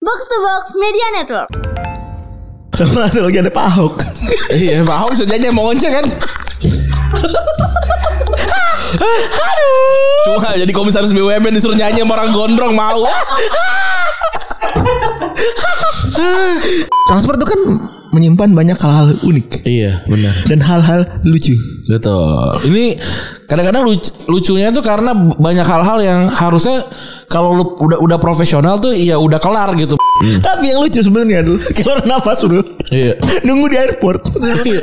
Box to Box Media Network. Masa lagi ada Pak Ahok Iya, Pak Ahok sejanya mau once kan. Aduh. Cuma jadi komisaris BUMN disuruh nyanyi sama orang gondrong mau. Transfer itu kan menyimpan banyak hal-hal unik iya, benar. Dan hal-hal lucu Betul. Ini kadang-kadang luc- lucunya tuh karena banyak hal-hal yang harusnya kalau lu udah udah profesional tuh ya udah kelar gitu. Tapi yang lucu sebenarnya dulu Keluar nafas bro Iya. Nunggu di airport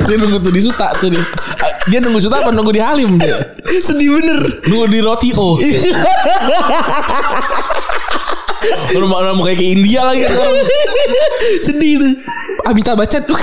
dia nunggu tuh di Suta tuh dia. Dia nunggu Suta apa nunggu di Halim dia? Sedih bener Nunggu di Roti O. Orang orang mau kayak ke India lagi orang. Sedih tuh Abita baca tuh.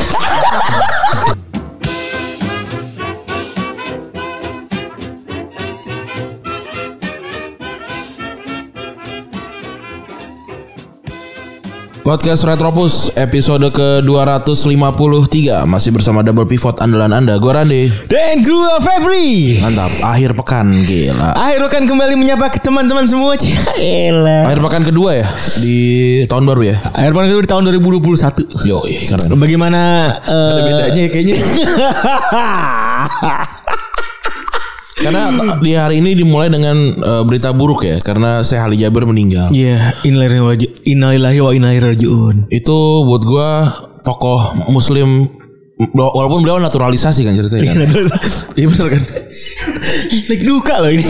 Podcast Retropus episode ke-253 Masih bersama Double Pivot andalan anda Gue Randy Dan gue Febri Mantap Akhir pekan gila Akhir pekan kembali menyapa ke teman-teman semua Ciela Akhir pekan kedua ya Di tahun baru ya Akhir pekan itu di tahun 2021 Yo keren Bagaimana eh, bedanya ya kayaknya Karena di hari ini dimulai dengan eh, berita buruk ya Karena Syekh Ali Jaber meninggal Iya, innalillahi wa innalillahi wa inna ilaihi rajiun. Itu buat gua tokoh muslim Walaupun beliau naturalisasi kan ceritanya kan? Iya bener kan Like duka loh ini.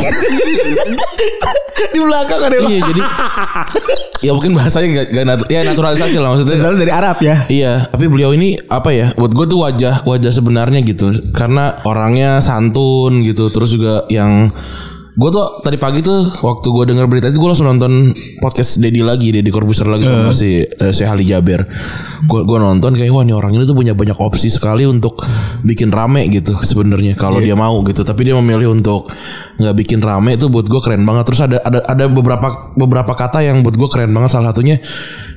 Di belakang ada Iya jadi Ya mungkin bahasanya gak, gak nat- Ya naturalisasi lah maksudnya Selalu dari Arab ya. Iya, tapi beliau ini apa ya? Buat gue tuh wajah wajah sebenarnya gitu, karena orangnya santun gitu, terus juga yang gue tuh tadi pagi tuh waktu gue denger berita itu gue langsung nonton podcast Deddy lagi, Deddy Corbuzier lagi sama si eh, si Ali Jaber. Gue gue nonton kayak wah ini orang ini tuh punya banyak opsi sekali untuk bikin rame gitu sebenarnya kalau dia mau gitu, tapi dia memilih untuk nggak bikin rame itu buat gue keren banget. Terus ada ada ada beberapa beberapa kata yang buat gue keren banget salah satunya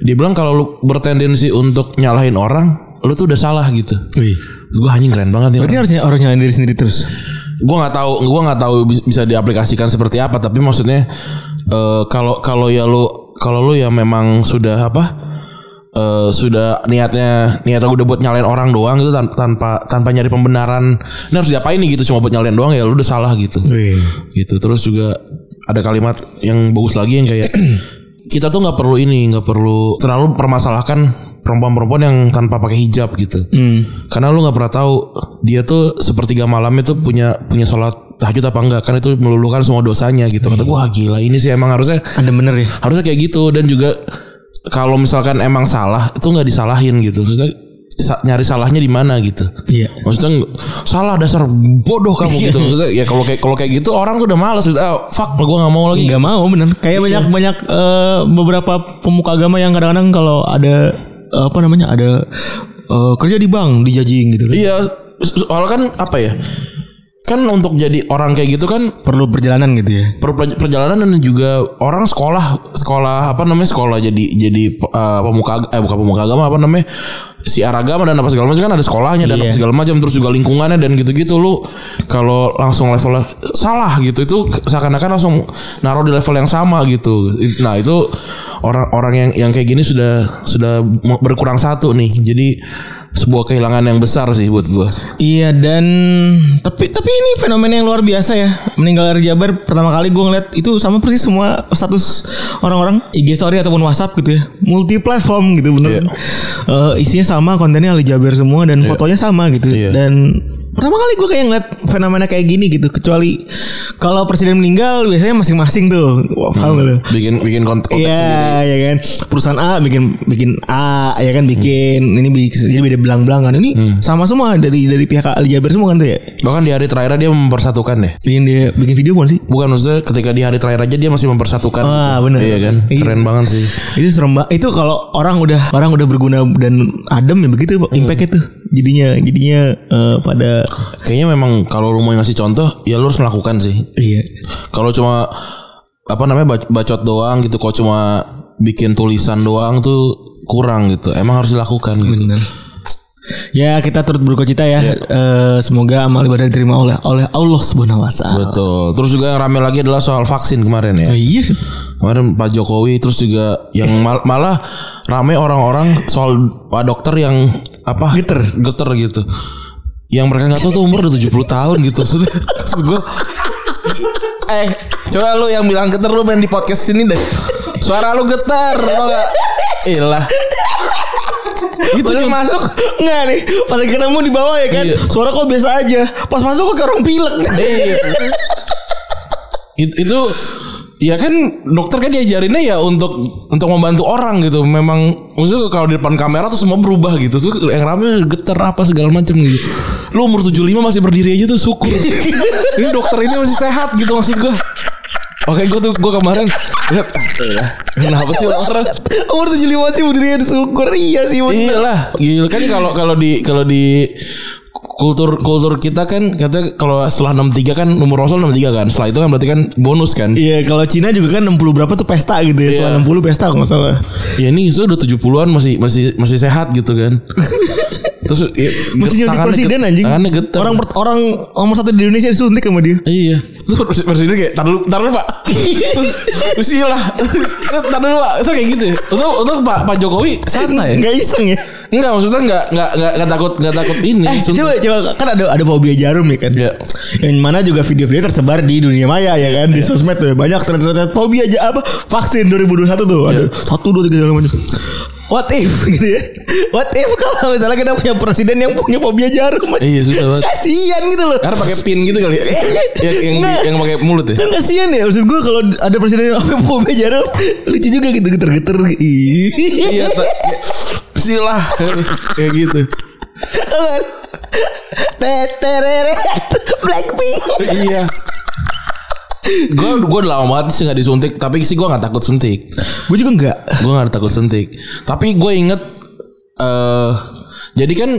dia bilang kalau lu bertendensi untuk nyalahin orang lu tuh udah salah gitu Wih. gue anjing keren banget nih Berarti orang. harusnya orang nyalain diri sendiri terus. gue nggak tahu gue nggak tahu bis- bisa diaplikasikan seperti apa tapi maksudnya eh, kalau kalau ya lu kalau lu ya memang sudah apa eh, sudah niatnya niatnya udah buat nyalain orang doang itu tanpa tanpa nyari pembenaran ini harus diapain nih gitu cuma buat nyalain doang ya lu udah salah gitu Wih. gitu terus juga ada kalimat yang bagus lagi yang kayak kita tuh nggak perlu ini nggak perlu terlalu permasalahkan perempuan-perempuan yang tanpa pakai hijab gitu karena lu nggak pernah tahu dia tuh sepertiga malam itu punya punya sholat tahajud apa enggak kan itu meluluhkan semua dosanya gitu kata wah gila ini sih emang harusnya Ada bener ya. harusnya kayak gitu dan juga kalau misalkan emang salah itu nggak disalahin gitu maksudnya sa- nyari salahnya di mana gitu Iya. maksudnya nggak- salah dasar bodoh kamu gitu maksudnya ya kalau kayak kalau kayak gitu orang tuh udah malas gitu ah, fuck gue nggak mau lagi Gak mau bener. Kayak banyak banyak eh, beberapa pemuka agama yang kadang-kadang kalau ada eh, apa namanya ada eh, kerja di bank dijajing gitu. kan. iya so- soalnya kan apa ya kan untuk jadi orang kayak gitu kan Perlu perjalanan gitu ya. per- per- perjalanan dan juga orang sekolah sekolah apa namanya sekolah jadi jadi eh, pemuka ag- eh bukan pemuka agama apa namanya siar agama dan apa segala macam kan ada sekolahnya dan apa Iya. segala macam terus juga lingkungannya dan gitu-gitu lu kalau langsung level salah gitu itu seakan-akan langsung naruh di level yang sama gitu nah itu orang-orang yang yang kayak gini sudah sudah berkurang satu nih jadi sebuah kehilangan yang besar sih buat gua Iya dan tapi tapi ini fenomena yang luar biasa ya meninggal dari Jabar pertama kali gue ngeliat itu sama persis semua status orang-orang IG story ataupun WhatsApp gitu ya multi platform gitu bener Iya. Eh, isinya sama kontennya Ali Jabar semua dan fotonya sama gitu Iya. dan pertama kali gue kayak ngeliat fenomena kayak gini gitu kecuali kalau presiden meninggal biasanya masing-masing tuh Wah, paham Hmm. gak lu? bikin bikin konten konten sendiri. Iya, ya kan. Perusahaan A bikin bikin A, ya kan bikin ini bikin jadi beda belang-belang kan. Ini Hmm. sama semua dari dari pihak Ali Jaber semua kan tuh ya. bahkan di hari terakhir dia mempersatukan deh Bikin dia bikin video bukan sih? Bukan maksudnya ketika di hari terakhir aja dia masih mempersatukan. Ah, bener. Iya kan? Iya. Keren banget sih. Itu serem banget. Itu kalau orang udah orang udah berguna dan adem ya begitu Hmm. impactnya tuh. Jadinya jadinya eh, pada Kayaknya memang kalau lu mau ngasih contoh, ya lu harus melakukan sih. iya. Kalau cuma apa namanya bac- bacot doang gitu, kalau cuma bikin tulisan doang tuh kurang gitu. Emang harus dilakukan gitu. Bener. Ya kita turut berukacita ya. Eh, semoga amal ibadah diterima oleh oleh Allah Subhanahu wa taala. Betul. Terus juga yang rame lagi adalah soal vaksin kemarin ya. Iya. kemarin Pak Jokowi terus juga yang mal- malah rame orang-orang soal Pak dokter yang apa geter geter gitu yang mereka nggak tahu tuh umur udah 70 tahun gitu maksudnya maksud gue eh coba lu yang bilang geter lu main di podcast sini deh suara lu geter tau gak ilah itu Baru cuma masuk Enggak nih Pas lagi ketemu di bawah ya kan Iya. Suara kok biasa aja Pas masuk kok kayak orang pilek Iya. It- itu ya kan dokter kan diajarinnya ya untuk untuk membantu orang gitu. Memang maksudnya kalau di depan kamera tuh semua berubah gitu. Terus yang rame geter apa segala macam gitu. Lu umur 75 masih berdiri aja tuh syukur. ini dokter ini masih sehat gitu maksud gua. Oke gue tuh gue kemarin lihat kenapa sih orang Umur 75 sih berdiri ada syukur Iya sih bener Iya lah, gila kan kalau kalau di kalau di kultur kultur kita kan katanya kalau setelah 63 kan nomor rasul 63 kan. Setelah itu kan berarti kan bonus kan. Iya kalau Cina juga kan 60 berapa tuh pesta gitu ya Setelah 60 pesta kalau nggak salah Ya ini itu udah 70-an masih masih masih sehat gitu kan. Terus ya, Mesti jadi tangannya presiden get- anjing Tangannya getar. Orang per- orang nomor satu di Indonesia disuntik sama dia Iya. Terus pres- presiden kayak tar dulu, tar dulu Pak. Terus iya lah. Tar dulu Pak. Terus kayak gitu. ya. Untuk untuk Pak Pak Jokowi santai. Nggak iseng ya Enggak maksudnya enggak enggak enggak, enggak takut enggak takut ini. Eh suntik. coba, coba kan ada ada fobia jarum ya kan Iya. Yang mana juga video-video tersebar di dunia maya ya kan Di sosmed tuh banyak ternyata fobia aja apa Vaksin 2021 tuh ada Ya. Satu dua tiga segala macam What if gitu ya What if kalau misalnya kita punya presiden yang punya fobia jarum Iya, susah banget. Kasian gitu loh Karena pakai pin gitu kali ya. yang yang, di- Nggak. yang pakai mulut ya. Kan kasihan ya Maksud gue kalau ada presiden yang punya fobia jarum Lucu juga gitu geter-geter Ih. Iya, ta- silah kayak gitu. Tau kan? Tetereret Blackpink iya. Gue gue udah lama banget sih nggak disuntik, tapi sih gue nggak takut suntik. Gue juga enggak Gue nggak takut suntik. Tapi gue inget eh jadi kan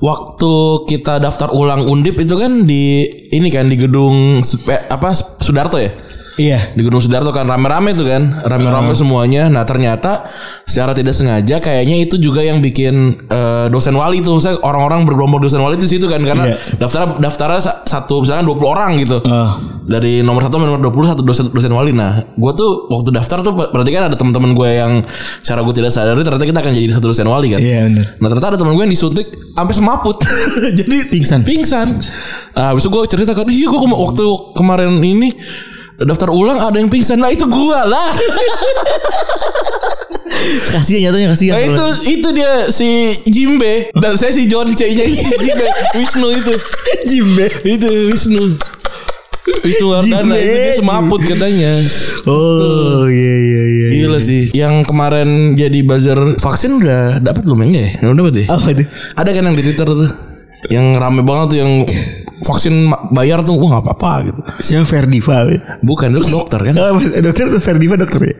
waktu kita daftar ulang undip itu kan di ini kan di gedung Supe- apa Sudarto ya? Iya di Gunung Sidarto kan rame-rame tuh kan rame-rame semuanya nah ternyata secara tidak sengaja kayaknya itu juga yang bikin eh, dosen wali tuh saya orang-orang bergerombol dosen wali itu situ kan karena Iya. daftar daftar satu misalkan 20 orang gitu Ah. dari nomor satu sampai nomor 20 satu dosen dosen wali nah gue tuh waktu daftar tuh ber- berarti kan ada teman-teman gue yang secara gue tidak sadari ternyata kita akan jadi satu dosen wali kan Iya bener Nah ternyata ada teman gue yang disuntik sampai semaput. Jadi Pingsan. Pingsan. Nah, habis itu gue cerita kan, "Iya, gue kema- waktu kemarin ini daftar ulang ada yang pingsan." Nah, itu gue lah. Kasihan nyatanya kasihan Nah, itu itu dia si Jimbe dan saya si John C-nya Jimbe Wisnu itu. Jimbe Itu Wisnu. Wisnu Wardana Jimbe, itu dia semaput katanya. Oh iya iya iya Gila sih. Yang kemarin jadi buzzer vaksin udah dapat belum ya? Nggak ya? Udah dapat ya? Apa tuh Ada kan yang di Twitter tuh Yang rame banget tuh yang Vaksin ma- bayar tuh Wah gak apa-apa gitu Siapa Ferdiva Bukan itu dokter kan Oh, dokter tuh Ferdiva dokter ya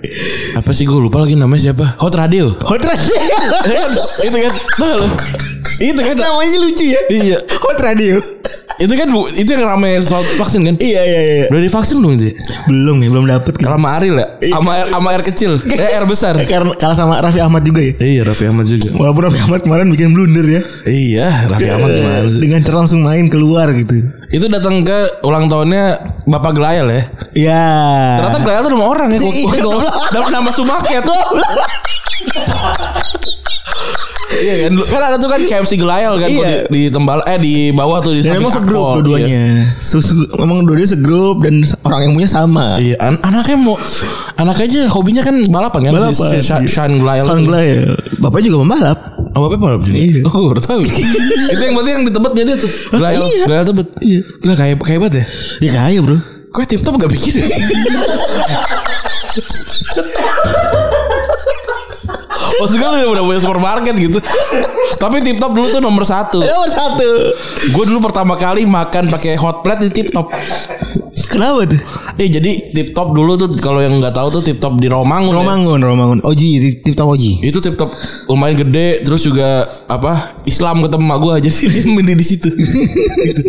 Apa sih gue lupa lagi namanya siapa Hot Radio Hot Radio Itu kan Tahu lo? Itu kan Namanya lucu ya Iya Hot Radio Itu kan bu- Itu yang rame soal vaksin kan Iya iya iya Udah divaksin belum sih Belum ya belum dapet kan Kalau sama Ariel ya Sama air, sama air kecil Eh air besar Karena kalah sama Raffi Ahmad juga ya Iya Raffi Ahmad juga Walaupun Raffi Ahmad kemarin bikin blunder ya Iya Raffi Ahmad gimana sih Dengan cara langsung main keluar gitu Itu datang ke ulang tahunnya Bapak Gelayel ya Ya Ternyata Gelayel tuh nama orang ya Iya, goblok. Nama- Nama Sumaket Iya kan, kan ada tuh kan KFC Gelayel kan Iya. kalau di, di tembal eh di bawah tuh di Dan samping emang segrup Akpol, Iya. dua-duanya Susu Emang dua-duanya segrup Dan orang yang punya sama Iya, an- anaknya mau anaknya aja hobinya kan balapan kan Balapan. si, si Sha- Sean Gelayel. Sean Glyle. Bapaknya juga membalap. Oh, bapaknya balap juga. Iya. Oh, baru tahu. Itu yang berarti yang di Tebet jadi tuh. Gelayel, iya. Gelayel Tebet. Iya. Gila kayak kayak banget ya. Ya kaya bro. Kok tip top gak bikin? Maksudnya lu udah punya supermarket gitu Tapi tip top dulu tuh nomor satu Nomor satu. Gue dulu pertama kali makan pakai hot plate di tip top. Kenapa tuh? Eh jadi tip top dulu tuh kalau yang nggak tahu tuh tip top di Romangun. ya. Romangun, Romangun. Oji, tip- tip top Oji. Itu tip top lumayan gede terus juga apa Islam ketemu emak gue jadi dia mending di situ. Gitu.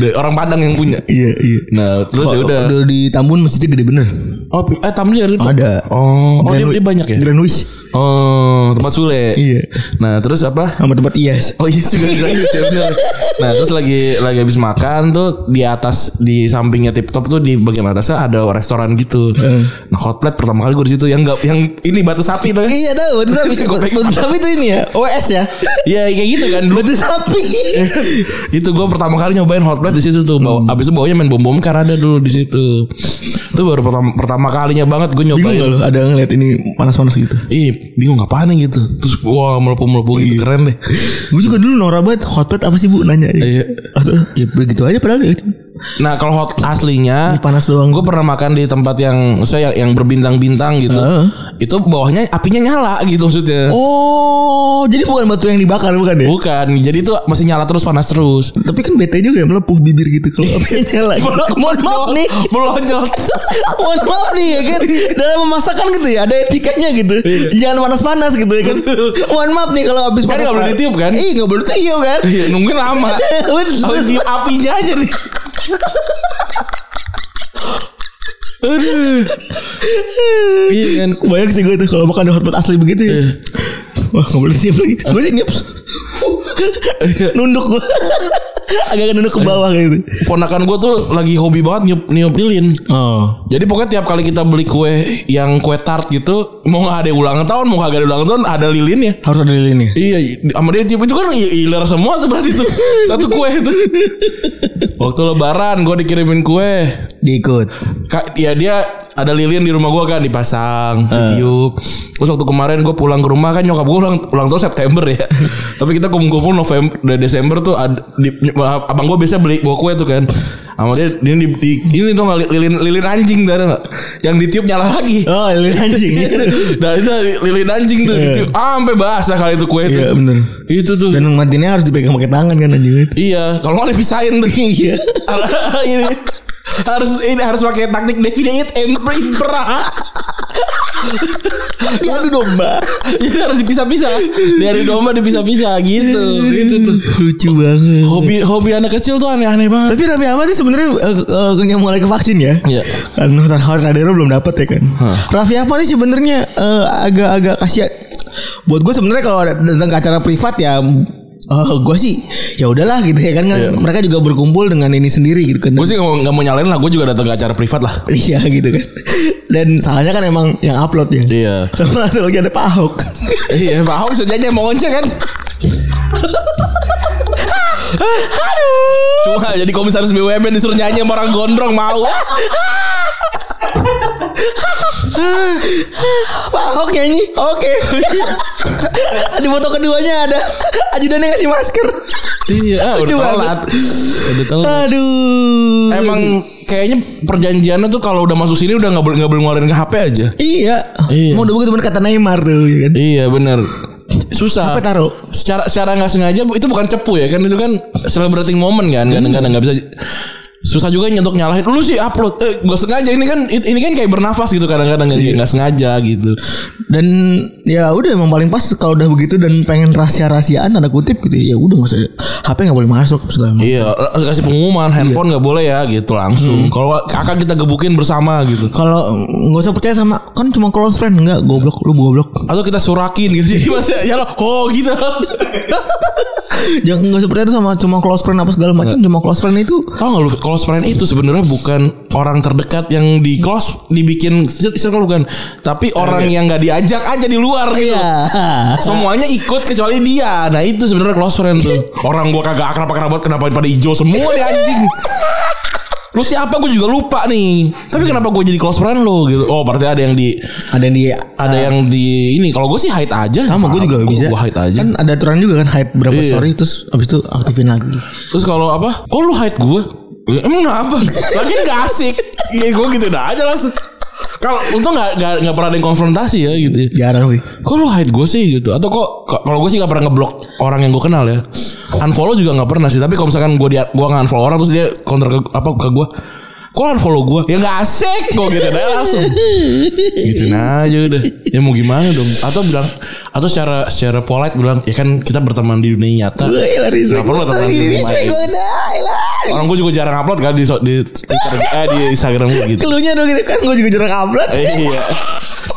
Udah, Orang Padang yang punya. Iya, iya. Nah terus ya udah. Udah di Tambun masjidnya gede bener. Oh pi- eh Tamrin ada. Tip Top? Ada. Oh, oh Grand dia, Wi- dia banyak ya. Grand Wish Oh tempat Sule. Iya. Nah terus apa? sama tempat IAS. Oh iya juga gratis ya bener. Nah terus lagi lagi habis makan tuh di atas di sampingnya tip tip top tuh di bagian atasnya ada restoran gitu. Nah hot plate pertama kali gue di situ yang nggak yang ini batu sapi tuh. Iya tahu batu sapi. Batu sapi itu ini ya, OS ya. Iya kayak gitu kan dulu. Batu sapi. itu gue pertama kali nyobain hot plate di situ tuh. Bawa, Hmm. Abis itu bawanya main bom bom karena ada dulu di situ. Itu baru pertama, pertama kalinya banget gue Bingung nyobain. gak lu ada ngeliat ini panas-panas gitu? Ih bingung apaan nih gitu. Terus wah melepuh-melepuh Iya. gitu keren deh. Gue juga dulu norak banget hot plate apa sih bu nanya Iya. Atau, ya begitu aja padahal ya. Nah kalau hot aslinya Ini panas doang. Gue pernah makan di tempat yang saya yang, yang berbintang-bintang gitu. Heeh. Itu bawahnya apinya nyala gitu maksudnya. Oh jadi bukan batu yang dibakar bukan ya Bukan. Jadi itu masih nyala terus panas terus. Tapi kan bete juga ya melepuh bibir gitu kalau Iya. apinya nyala gitu. Mohon maaf nih Melonjol. Mohon maaf nih ya kan Dalam memasakan gitu ya Ada etikanya gitu Jangan panas-panas gitu ya kan Mohon maaf nih kalau habis Iya. Kan nggak boleh ditiup, kan? Iya nggak boleh ditiup kan Iya, nungguin lama. Bener. Harus di apinya aja nih. Aduh. Iya kan. Banyak sih gue tuh kalau makan hot pot asli begitu Iya. ya. Wah nggak boleh tiup lagi. Gue sih niup. Iya. nunduk gue. Agak nunduk ke bawah gitu. Ponakan gue tuh lagi hobi banget niup niup lilin. Oh. Jadi pokoknya tiap kali kita beli kue yang kue tart gitu, mau nggak ada ulang tahun, mau nggak ada ulang tahun, ada lilinnya. Harus ada lilin ya. Iya, di- sama dia tiup itu kan i- iler semua tuh berarti tuh satu kue itu. Waktu Lebaran gue dikirimin kue, Diikut. Kak, ya dia ada lilin di rumah gue kan dipasang, Eh. ditiup. Terus waktu kemarin gue pulang ke rumah kan nyokap gue ulang, ulang tahun September ya. Tapi kita kumpul-kumpul November dari Desember tuh ad, di- abang gue biasa beli bawa kue tuh kan. Sama dia ini di, di- ini tuh nggak lilin lilin anjing tuh ada nggak? Yang ditiup nyala lagi. Oh lilin anjing. Gitu. Nah itu lilin anjing tuh ditiup. Ah, sampai basah kali itu kue itu. Iya bener. Itu tuh. Dan matinya harus dipegang pakai tangan kan anjing itu. Iya, kalau nggak dipisahin tuh. Iya. ini harus ini harus pakai taktik definite and pribra. Diadu domba. Jadi harus dipisah-pisah. Dari domba dipisah-pisah gitu. Itu tuh. Lucu banget. Hobi hobi anak kecil tuh aneh-aneh banget. Tapi Raffi Ahmad sih sebenarnya eh, eh, yang mulai ke vaksin ya. Iya. Kan Howard Nadero belum dapat ya kan. Hah. Raffi Ahmad sih sebenarnya eh, agak-agak kasihan. Buat gue sebenarnya kalau datang ke acara privat ya eh, gue sih ya udahlah gitu ya kan, kan Iya. mereka juga berkumpul dengan ini sendiri gitu kan Gue sih nggak mau- nggak mau nyalain lah. Gue juga datang ke acara privat lah. iya gitu kan dan salahnya kan emang yang upload ya Iya. sama satu lagi ada Pak Ahok Iya, Pak Ahok sudah aja mau ngoceh kan. Aduh. Cuma jadi komisaris BUMN disuruh nyanyi sama orang gondrong mau. Pak Ahok nyanyi oke di foto keduanya ada ajudannya ngasih masker Iya, ah, udah Lucu banget. telat. Udah telat. aduh Emang kayaknya perjanjiannya tuh kalau udah masuk sini udah nggak boleh nggak boleh ngeluarin ke HP aja. Iya. Iya. Mau udah begitu bener kata Neymar tuh ya kan. Iya benar. Susah. Apa taruh? Secara secara nggak sengaja itu bukan cepu ya kan itu kan celebrating moment kan kadang-kadang nggak bisa susah juga nyentuh nyalahin lu sih upload eh, gue sengaja ini kan ini kan kayak bernafas gitu kadang-kadang nggak nggak sengaja gitu Dan ya udah emang paling pas kalau udah begitu dan pengen rahasia-rahasiaan tanda kutip gitu ya udah nggak usah HP nggak boleh masuk segala macam. iya kasih pengumuman handphone nggak boleh ya gitu langsung kalau akan kita gebukin bersama gitu Kalau nggak usah percaya sama kan cuma close friend nggak goblok lu goblok. atau kita surakin gitu jadi masih ya lo oh gitu Jangan nggak usah percaya tuh sama cuma close friend apa segala macam cuma close friend itu Tau gak lu close friend itu sebenarnya bukan orang terdekat yang di close dibikin circle bukan, tapi orang yang nggak diajak aja di luar gitu. Iya. Semuanya ikut kecuali dia. Nah itu sebenarnya close friend tuh. Orang gua kagak akrab akrab banget kenapa pada hijau semua nih anjing. Lu siapa gue juga lupa nih. Tapi kenapa gue jadi close friend lu gitu? Oh berarti ada yang di Ada yang dia ada yang di ini. Kalau gue sih hide aja. sama gue juga bisa. Gue hide aja. Kan ada aturan juga kan hide berapa Iya. story terus abis itu aktifin lagi. Terus kalau apa? Kok lu hide gue? Ya, Emang kenapa? Lagian gak asik. Ya gue gitu dah aja langsung. Kalau untung gak, nggak nggak pernah ada yang konfrontasi ya gitu. ya. Jarang sih. Kok lu hide gue sih gitu? Atau kok kok- kalau gue sih gak pernah ngeblok orang yang gue kenal ya. Unfollow juga gak pernah sih. Tapi kalau misalkan gue dia gue nggak unfollow orang terus dia counter ke apa ke gue. Kok lu unfollow gue? Ya gak asik kok gitu dah langsung. Gitu aja udah. Ya mau gimana dong? Atau bilang atau secara secara polite bilang ya kan kita berteman di dunia nyata. Gila respect. Nggak perlu tetap Gila, di rumah, respect ya. banget, ah, gila. Orang gue juga jarang upload kan di so- di Twitter eh, di Instagram gue gitu. Keluhnya dong gitu kan gue juga jarang upload. Eh, iya.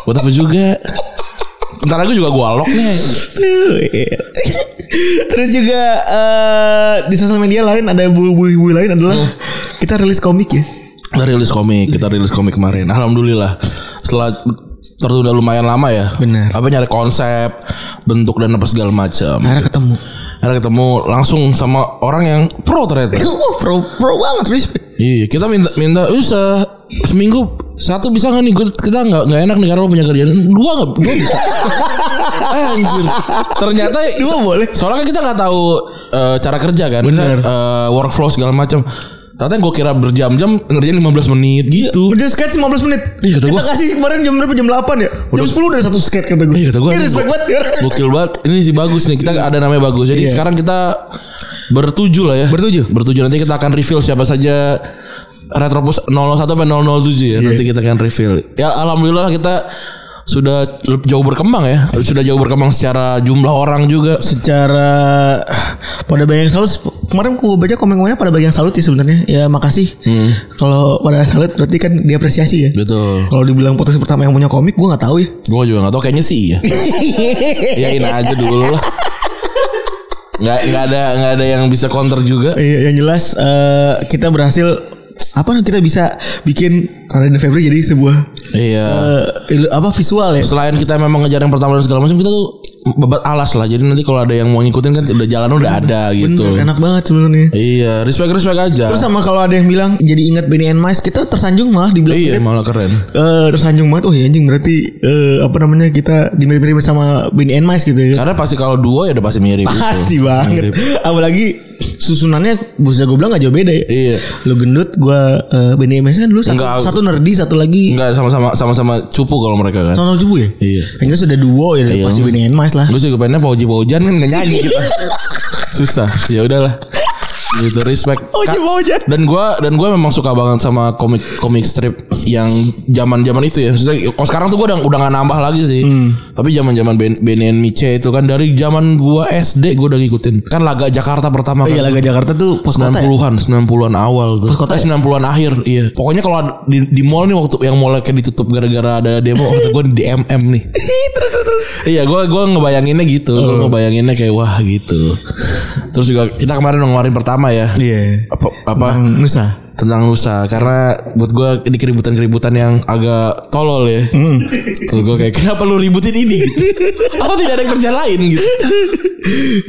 Buat apa juga? Bentar lagi juga gue lock nih. Tuh, iya. Terus juga Hmm. eh, di sosial media lain ada bui-bui lain adalah kita rilis komik ya. Kita rilis komik, kita rilis komik kemarin. Alhamdulillah. Setelah tertunda lumayan lama ya. Bener. Apa nyari konsep, bentuk dan apa segala macam. Akhirnya ketemu. Akhirnya ketemu langsung sama orang yang pro ternyata. Oh, pro pro banget respect. Iya, kita minta minta usah seminggu satu bisa nggak nih? Gua, kita nggak nggak enak nih karena lo punya kerjaan. Dua nggak? Dua bisa. Eh, Anjir. Ternyata Dua boleh. Soalnya kan kita nggak tahu eh, cara kerja kan, Bener. Kita, eh, workflow segala macam. Ternyata gue kira berjam-jam ngerjain 15 menit gitu. Udah sketch 15 menit. Iya, Kita kata gua. kasih kemarin jam berapa? Jam 8 ya? Jam 10 udah satu sketch kata gue. Iya kata gue. Ini respect banget. Gokil banget. Ini sih bagus nih. Kita ada namanya bagus. Jadi Iya. sekarang kita bertujuh lah ya. Bertujuh? Bertujuh nanti kita akan reveal siapa saja Retropus 001 sampai 007 ya. Iya. Nanti kita akan reveal. Ya alhamdulillah kita sudah jauh berkembang ya. Sudah jauh berkembang secara jumlah orang juga. secara pada banyak yang salut kemarin aku baca komen-komennya pada banyak yang salut sih sebenarnya ya makasih kalau pada salut berarti kan diapresiasi ya Hmm. Betul. kalau dibilang podcast pertama yang punya komik gue nggak tahu ya Gue juga gak tau kayaknya sih ya. Yain aja dulu lah. Nggak, nggak ada nggak ada yang bisa counter juga. Iya, yang jelas eh, kita berhasil apa nih, kita bisa bikin Raden Febri jadi sebuah Iya. eh, ilu- apa visual ya selain kita memang ngejar yang pertama dan segala macam kita tuh bebat alas lah jadi nanti kalau ada yang mau ngikutin kan udah jalan udah ada gitu Bener, enak banget sebenarnya iya respect respect aja terus sama kalau ada yang bilang jadi ingat Benny and Mice kita tersanjung malah dibilang iya malah keren eh tersanjung banget oh ya anjing berarti eh, apa namanya kita dimirip-mirip sama Benny and Mice gitu ya karena pasti kalau duo ya udah pasti mirip gitu. Pasti banget. Mirip. Apalagi susunannya bisa gue bilang gak jauh beda ya. iya Lu gendut, gue uh, Benny MS kan dulu satu, Enggak. satu nerdy, satu lagi enggak sama-sama sama-sama cupu kalau mereka kan sama cupu ya. Iya. Yang jelas udah duo ya, Iya. pasti Benny and Mice lah. gue sih kepengennya pauji paujan kan gak nyanyi gitu susah ya udahlah gitu respect Oh, Ka- Ojan. dan gua dan gua memang suka banget sama komik komik strip yang zaman zaman itu ya Maksudnya, kalau sekarang tuh gua udah udah gak nambah lagi sih Hmm. tapi zaman zaman ben, Benny and Miche itu kan dari zaman gua SD gua udah ngikutin kan laga Jakarta pertama Iya kan laga Jakarta tuh pos kota ya. 90-an, 90-an awal tuh. Pas kota ya? Eh, 90-an akhir, iya. Pokoknya kalau ada- di, di mall nih waktu yang mall kayak ditutup gara-gara ada demo, waktu gue di MM nih. terus terus. Iya, gue gua ngebayanginnya gitu. Oh. Gue ngebayanginnya kayak wah gitu. terus juga kita kemarin ngeluarin pertama ya. Iya. Apa, apa Bang Nusa. tentang Nusa karena buat gue ini keributan-keributan yang agak tolol ya. Hmm. Terus gue kayak kenapa lu ributin ini? Gitu. Apa tidak ada kerja lain gitu?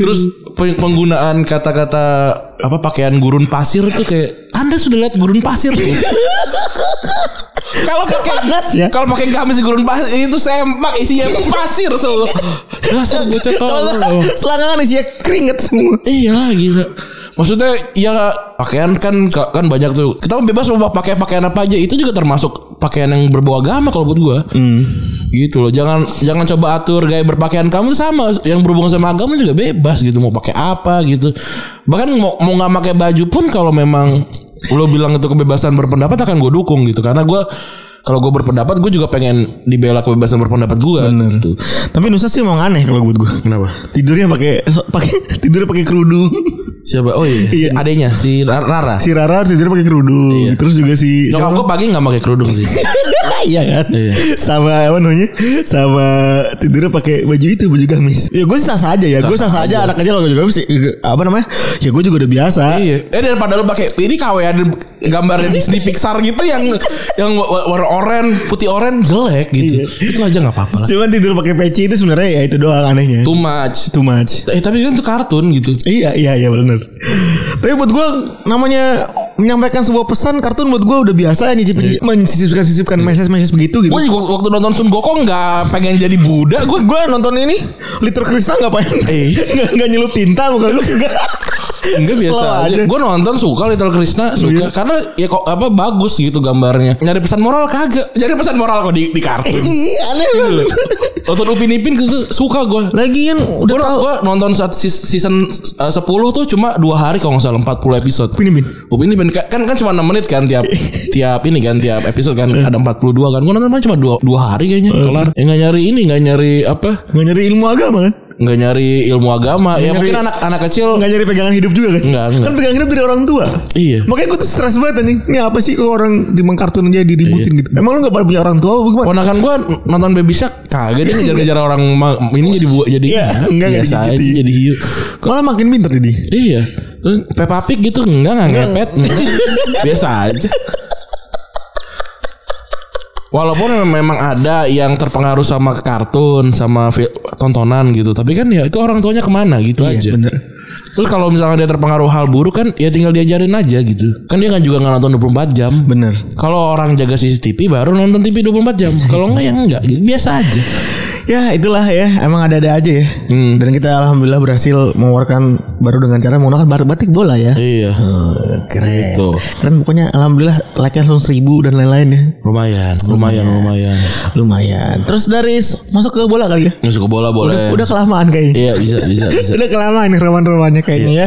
Terus pe- penggunaan kata-kata apa pakaian gurun pasir tuh kayak Anda sudah lihat gurun pasir tuh?" Kalau pakai Panas ya. Kalau pakai gamis gurun pasir itu sempak isinya pasir semua. Dasar bocah tolol. Kalau selangangan isinya ya, keringet semua. Iya lah gila. Maksudnya ya pakaian kan kan banyak tuh. Kita bebas mau pakai pakaian apa aja. Itu juga termasuk pakaian yang berbau agama kalau buat gua. Gitu loh. Jangan jangan coba atur gaya berpakaian kamu sama yang berhubungan sama agama juga bebas gitu mau pakai apa gitu. Bahkan mau mau nggak pakai baju pun kalau memang lo bilang itu kebebasan berpendapat akan gue dukung gitu karena gua kalau gue berpendapat gue juga pengen dibela kebebasan berpendapat gue gitu. Tapi Nusa sih emang aneh kalau buat gue. kenapa Tidurnya pakai so- pakai tidurnya pakai kerudung. siapa oh iya, si Iya. adenya si Rara si Rara tidurnya pakai kerudung. Terus juga si Iya. Nyokap gue pagi gak pakai kerudung sih. iya kan Iya. sama apa namanya sama tidurnya pakai baju itu baju gamis ya gue sih sah aja ya gue sah aja anak aja lo juga gamis eh, apa namanya ya gue juga udah biasa iya. Eh daripada lu pakai ini KW ada gambarnya Disney Pixar gitu yang yang wa- warna oranye, putih oranye jelek gitu. Itu aja nggak apa-apa lah. cuman tidur pakai peci itu sebenarnya ya itu doang anehnya Too much. too much Eh tapi kan itu kartun gitu. Iya iya iya benar. Tapi buat gue namanya menyampaikan sebuah pesan kartun buat gue udah biasa ya, nyicipin Iya. menyisipkan sisipkan message message begitu gitu. Gue juga wak- waktu nonton Sun Gokong nggak pengen jadi Buddha. Gue Gue nonton ini liter kristal ngapain? Eh. nggak nggak nyelup tinta bukan lu Enggak biasa Slow aja. aja. Gue nonton suka Little Krishna suka Iya. karena ya kok apa bagus gitu gambarnya. Nyari pesan moral kagak. Nyari pesan moral kok di, di kartun. Iya aneh Gitu banget. loh. Nonton Upin Ipin gitu suka gue. Lagian udah Gue tahu nonton saat sis- season uh, 10 tuh cuma dua hari kalau nggak salah 40 episode. Upin Ipin. Upin Ipin kan kan cuma 6 menit kan tiap tiap ini kan tiap episode kan ada 42 kan. Gue nonton paling cuma dua, dua hari kayaknya kelar. Ya nggak nyari ini nggak nyari apa Nggak nyari ilmu agama kan? nggak nyari ilmu agama. ya nyari- mungkin anak anak kecil Nggak nyari pegangan hidup juga kan? Oh. Nggak, nggak. Kan pegangan hidup dari orang tua. Iya. Makanya gue tuh stres banget anjing. Ini apa sih kok orang di kartun aja diributin Iya. gitu. Emang lu nggak pada punya orang tua apa gimana? Ponakan gue nonton Baby Shark kagak dia ngejar-ngejar orang ma- ini jadi buat jadi Iya, nggak, ya. nggak biasa aja, digigitin. jadi hiu. Malah makin pintar jadi. Iya. Terus Peppa Pig gitu enggak enggak ngepet. Biasa aja. Walaupun mem- memang ada yang terpengaruh sama kartun, sama fi- tontonan gitu, tapi kan ya itu orang tuanya kemana gitu aja. Iya, bener. Terus kalau misalkan dia terpengaruh hal buruk kan ya tinggal diajarin aja gitu. Kan dia nggak juga nggak nonton 24 jam. Bener. Kalau orang jaga CCTV baru nonton TV 24 jam. Kalau enggak ya enggak, biasa aja. Ya itulah ya Emang ada-ada aja ya Hmm. Dan kita alhamdulillah berhasil Mengeluarkan Baru dengan cara menggunakan bar- batik bola ya Iya. Keren Gitu. Iya, Keren pokoknya Alhamdulillah Like langsung seribu dan lain-lain ya Lumayan, Iya. lumayan, lumayan. Lumayan Terus dari Masuk ke bola kali ya Masuk ke bola boleh. Udah kelamaan kayaknya Iya, bisa, bisa, bisa. Udah kelamaan nih roman-romannya kayaknya ya.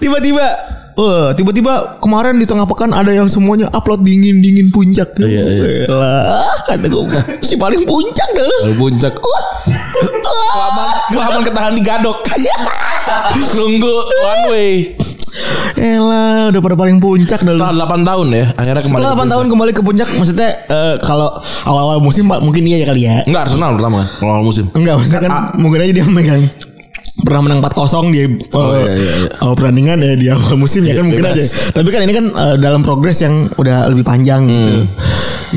Tiba-tiba Wah, tiba-tiba kemarin di tengah pekan ada yang semuanya upload dingin-dingin puncak. Iya, iya. Elah, kata gue si paling puncak dah lu. Kalau puncak kelamaan kelamaan ketahan di gadok. Nunggu one way. Elah, udah pada paling puncak dah lu. Setelah 8 tahun ya, akhirnya kemarin. Setelah 8 tahun kembali ke puncak, maksudnya eh, kalau awal-awal musim Pak, mungkin iya ya kali ya. Enggak Arsenal pertama kan, kalau awal musim. Enggak, maksudnya kan ah. mungkin aja dia megang pernah menang 4-0 dia Oh, eh, iya, iya, iya. awal pertandingan ya di awal musim ya kan mungkin bebas. aja. Tapi kan ini kan eh, dalam progres yang udah lebih panjang Hmm. gitu.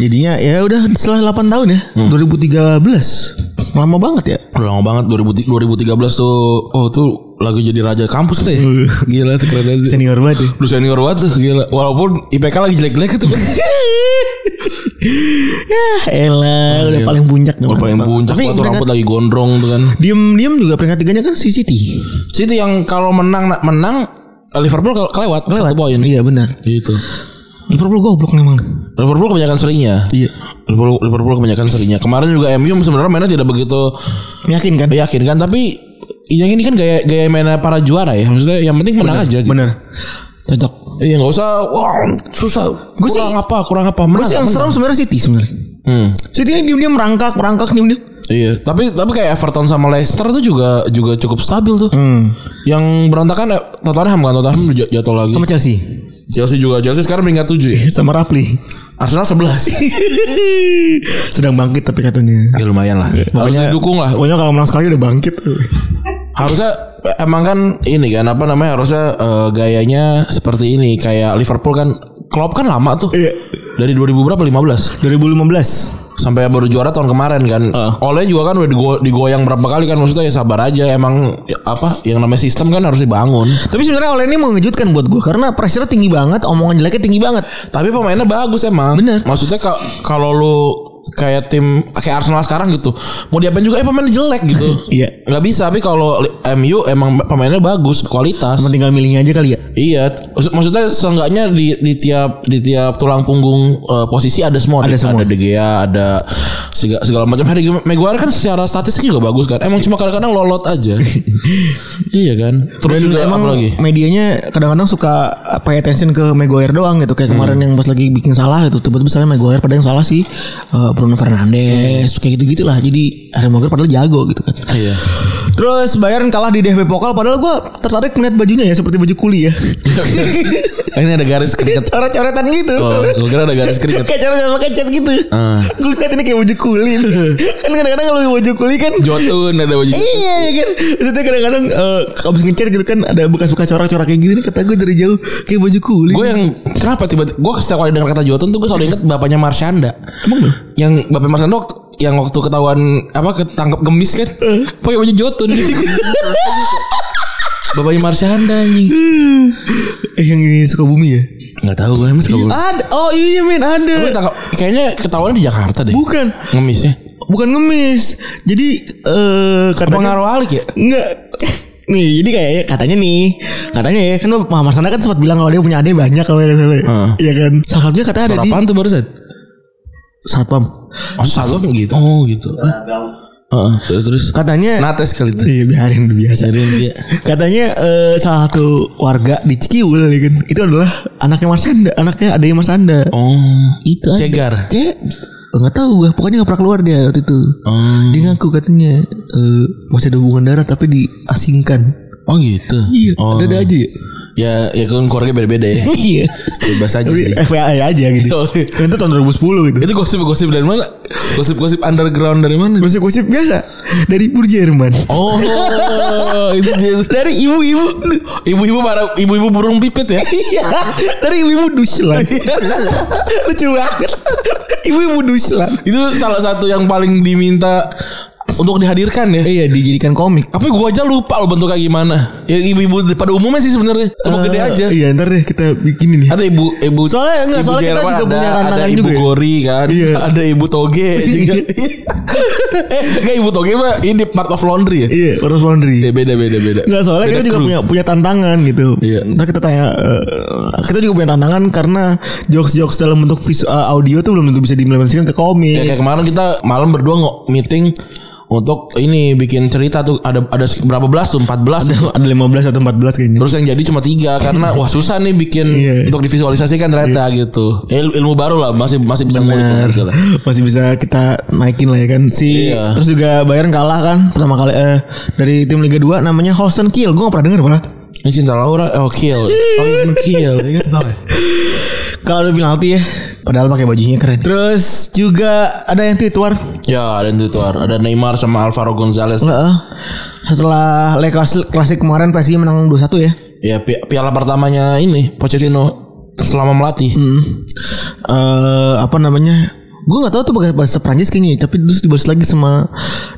Jadinya ya udah setelah 8 tahun ya, Hmm. 2013. Lama banget ya. Udah lama banget 2000 2013 tuh. Oh, tuh lagu jadi raja kampus kita ya. Gila tuh keren banget. Senior banget ya. Lu senior banget tuh, gila. Walaupun IPK lagi jelek-jelek tuh kan. Yah, Ya, elah, udah paling puncak iya. Udah paling puncak Tapi Wah, tuh peringkat- rambut lagi gondrong tuh kan. diem-diem juga peringkat tiganya kan si City. Situ yang kalau menang menang Liverpool ke- kelewat, kelewat. satu poin. Iya benar. Gitu. Liverpool goblok memang. Liverpool kebanyakan seringnya. Iya. Liverpool, Liverpool kebanyakan seringnya. Kemarin juga MU sebenarnya mainnya tidak begitu Yakin Iya, kan? meyakinkan tapi yang ini kan gaya gaya mainnya para juara ya. Maksudnya yang penting menang aja gitu. Bener. Cocok. Iya nggak usah wah susah. Gua sih- kurang apa kurang apa menang. Gue sih yang menang. serem sebenarnya City sebenarnya. Hmm. City ini diem-diem merangkak, merangkak diem-diem. Iya, tapi tapi kayak Everton sama Leicester tuh juga juga cukup stabil tuh. Hmm. Yang berantakan eh, Tottenham kan Tottenham jat- jatuh lagi. Sama Chelsea. Chelsea juga Chelsea sekarang peringkat 7 ya. Sama Rapli. Arsenal 11. Sedang bangkit tapi katanya. ya lumayan lah. Harus didukung lah. Ah, Pokoknya kalau menang sekali udah bangkit. Harusnya emang kan ini kan apa namanya harusnya eh, gayanya seperti ini kayak Liverpool kan Klopp kan lama tuh. Iya. Dari 2000 berapa 15 2015. sampai baru juara tahun kemarin kan. Ah. Oleh juga kan udah digo- digoyang berapa kali kan maksudnya ya sabar aja emang ya, apa yang namanya sistem kan harus dibangun. Tapi sebenarnya oleh ini mengejutkan buat gue karena pressure tinggi banget, omongan jeleknya tinggi banget. Tapi pemainnya bagus emang. Bener. Maksudnya ka- kalau lu kayak tim kayak Arsenal sekarang gitu, mau diapain juga eh pemainnya jelek gitu. Iya. Nggak bisa tapi kalau li- MU emang pemainnya bagus, kualitas. Cuma tinggal milihnya aja kali ya. Iya, maksud- maksudnya seenggaknya di, di tiap di tiap tulang punggung eh, posisi ada semua, Ada semua. De Gea, ada segala, segala macam. Harry Maguire kan secara statistik juga bagus kan. Emang cuma kadang-kadang lolot aja. iya kan. Terus Dan juga emang apa lagi? medianya kadang-kadang suka pay attention ke Maguire doang gitu Hmm. kayak kemarin yang pas lagi bikin salah gitu tiba-tiba misalnya Maguire padahal yang salah sih eh, Bruno Fernandes kayak gitu gitulah jadi Harry Maguire padahal jago gitu kan Iya. terus Bayern kalah di DFB Pokal padahal gue tertarik melihat bajunya ya seperti baju kuli ya Iya, Ini ada garis keringet. coret-coretan gitu Oh, gue kira ada garis keringet. kayak coret-coret pakai cat gitu Ah. gue ngeliat ini kayak baju kuli kan kadang-kadang kalau baju kuli kan Jotun ada baju. Iya ya kan Maksudnya kadang-kadang eh, Abis ngecat gitu kan Ada bekas-bekas corak-corak kayak gini Kata gue dari jauh Kayak baju kulit Gue yang kenapa tiba-tiba gue setiap kali dengar kata Jotun tuh gue selalu inget bapaknya Marsyanda. Emang lu? Yang bapaknya Marsyanda waktu yang waktu ketahuan apa ketangkep gemis kan Eh. pakai baju Jotun. bapaknya Marsyanda anjing. Eh yang ini suka bumi ya Enggak tahu gue emang suka gue. Ada Oh iya men ada Gue tangkap kayaknya ketahuan di Jakarta deh. Bukan Ngemisnya. Bukan ngemis Jadi eh katanya Pengaruh alik ya? Enggak Nih jadi kayaknya katanya nih Katanya ya Kan Mama Sana kan sempat bilang Kalau dia punya adik banyak kalau nggak salah ya. Heeh. Iya kan Salah satunya katanya ada di Berapaan tuh barusan? Satpam Masa satu gitu. Oh gitu. Ah. Heeh, terus terus. Katanya Nates kali itu. Iya biarin biasa Jadi dia Katanya eh, salah satu warga di Cikiul ya kan. Itu adalah anaknya Mas Anda, anaknya adanya Mas Anda. Oh, itu ada. Cegar. Cek. Enggak tahu gue, pokoknya nggak pernah keluar dia waktu itu. Oh. Dia ngaku katanya eh, masih ada hubungan darah tapi diasingkan. Oh gitu. Iya, oh. ada, ada aja ya. Ya ya kan keluarga beda-beda ya. Iya. Bebas aja Tapi sih. FYI aja gitu. itu tahun 2010 gitu. Itu gosip-gosip dari mana? Gosip-gosip underground dari mana? Gosip-gosip biasa dari Pur Jerman. Oh, itu dia. Dari ibu-ibu Ibu-ibu para ibu-ibu burung pipit ya. Iya, dari ibu-ibu Duslan. Lucu banget. Ibu-ibu Duslan. itu salah satu yang paling diminta untuk dihadirkan ya. Iya, dijadikan komik. Tapi gua aja lupa lo bentuk kayak gimana. Ya ibu-ibu pada umumnya sih sebenarnya. Cuma gede aja. Iya, ntar deh kita bikin ini. Ada ibu ibu Soalnya enggak, ibu soalnya kita Jerman juga punya ada tantangan ibu juga ya. gori kan, Iya. ada ibu toge juga. eh, enggak ibu toge mah ini part of laundry ya. Iya, harus laundry. Ya, beda beda beda. Enggak soalnya Beda kita juga crew. punya punya tantangan gitu. Iya. Ntar kita tanya eh, kita juga punya tantangan karena jokes-jokes dalam bentuk vis, eh, audio tuh belum tentu bisa diimplementasikan ke Ya, komik. kayak kemarin kita malam berdua nggak meeting untuk ini bikin cerita tuh ada ada berapa belas tuh 14 belas Ada 15 atau 14 kayaknya. terus yang jadi cuma tiga karena wah susah nih bikin Iya. untuk divisualisasikan ternyata gitu Il- ilmu baru lah masih masih bisa ngulik gitu lah. Masih bisa kita naikin lah ya kan si Iya. terus juga Bayern kalah kan pertama kali eh, dari tim Liga 2 namanya Holsten Kiel. Gue gak pernah denger malah. ini cinta Laura oh kill oh iya, kill Iya, kan? Kalau ada penalti ya. Padahal pakai bajunya keren. Terus juga ada yang tweet war. Ya ada Tutuar Ada Neymar sama Alvaro Gonzalez Heeh. Setelah Le Clas- Clasic kemarin PSG menang 2-1 ya. Ya pi- piala pertamanya ini Pochettino Selama melatih Hmm. Eh, apa namanya? Gue nggak tahu tuh pakai bahasa Prancis kayaknya, ya, tapi terus dibalas lagi sama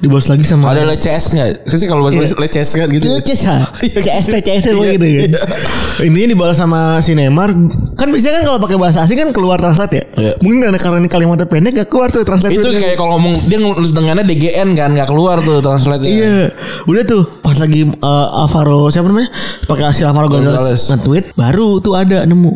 dibalas lagi sama Ada leces gak? Kasi kalau bahasa Iya. leces kan gitu ya? CS ha? CST CST pokoknya gitu kan. Iya. Iya. Intinya dibalas sama si Neymar. Kan biasanya kan kalau pakai bahasa asing kan keluar translate ya. Iya. Mungkin karena karena ini kalimatnya pendek gak keluar tuh translate. Itu kayak kalau ngomong Dia nulis dengannya DGN kan Gak keluar tuh translate Iya, udah tuh pas lagi eh, Alvaro siapa namanya pakai hasil Alvaro Gonzalez. Gonzalez nge-tweet baru tuh ada nemu,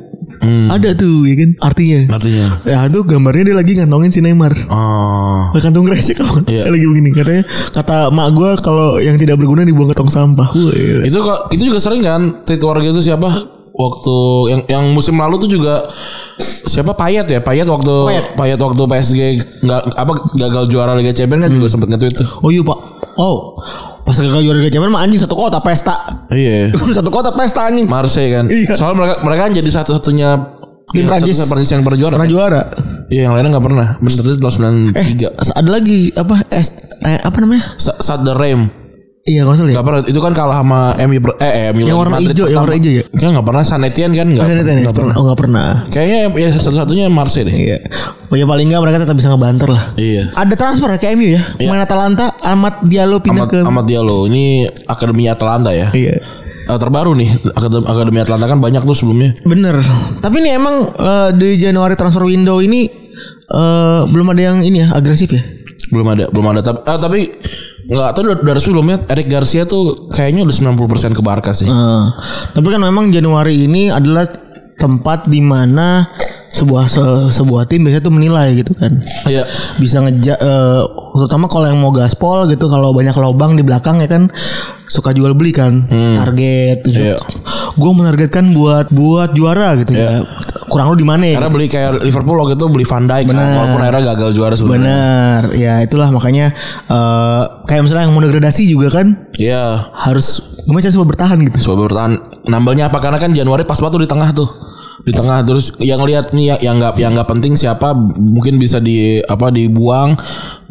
ada tuh ya kan artinya. Artinya Ya tuh gambarnya dia lagi ngantongin si Neymar. Oh Pakai kantung kresek apa? Iya. ya, Lagi begini katanya kata mak gue kalau yang tidak berguna dibuang ke tong sampah. Wah, iya. Itu kok itu juga sering kan tweet warga itu siapa waktu yang yang musim lalu tuh juga siapa Payet ya Payet waktu Payet. Payet, waktu PSG nggak apa gagal juara Liga Champions kan juga sempet nge-tweet tuh. Oh iya pak. Oh pas gagal juara Liga Champions mah anjing satu kota pesta. Iya. satu kota pesta anjing. Marseille kan. Iya. Soalnya mereka mereka kan jadi satu-satunya Tim yang Prancis. satu-satunya Prancis yang pernah juara. Pernah juara. Iya, yang lainnya nggak pernah. Bener itu tahun Eh 93. ada lagi apa es eh, apa namanya? Sa- Saat the Rem. Iya nggak salah ya. Gak pernah itu kan kalah sama MU per- eh, eh MU Yang warna hijau, yang warna hijau ya? Enggak enggak pernah San Etienne kan enggak. Nggak pernah, Enggak pernah. pernah. Oh nggak pernah. Kayaknya ya satu-satunya Marseille deh. Iya. Oh ya paling nggak mereka tetap bisa ngebanter lah. Iya. Ada transfer ya ke MU ya. Iya. Main Atalanta, Amat Diallo pindah Amat, ke. Amat Diallo ini akademi Atalanta ya. Iya. Eh, terbaru nih akademi, akademi Atalanta kan banyak tuh sebelumnya. Bener. Tapi ini emang eh, di Januari transfer window ini eh, belum ada yang ini ya agresif ya. Belum ada, belum ada tapi ah, tapi nggak tahu dari, dari sebelumnya Eric Garcia tuh kayaknya udah 90% ke Barca sih. Eh, tapi kan memang Januari ini adalah tempat di mana sebuah se- sebuah tim biasanya tuh menilai gitu kan. Iya. bisa ngeja eh, terutama kalau yang mau gaspol gitu kalau banyak lobang di belakang ya kan suka jual beli kan target tujuh Hmm. Iya. gue menargetkan buat buat juara gitu ya kurang lu di mana ya Karena beli kayak Liverpool waktu itu beli Van Dijk kan, walaupun akhirnya gagal juara sebenarnya. benar ya itulah makanya eh, kayak misalnya yang mau degradasi juga kan Iya. harus gimana cara supaya bertahan gitu Sebab bertahan nambelnya apa karena kan Januari pas banget tuh di tengah tuh di tengah terus yang lihat nih yang- yang nggak yang nggak penting siapa mungkin bisa di apa dibuang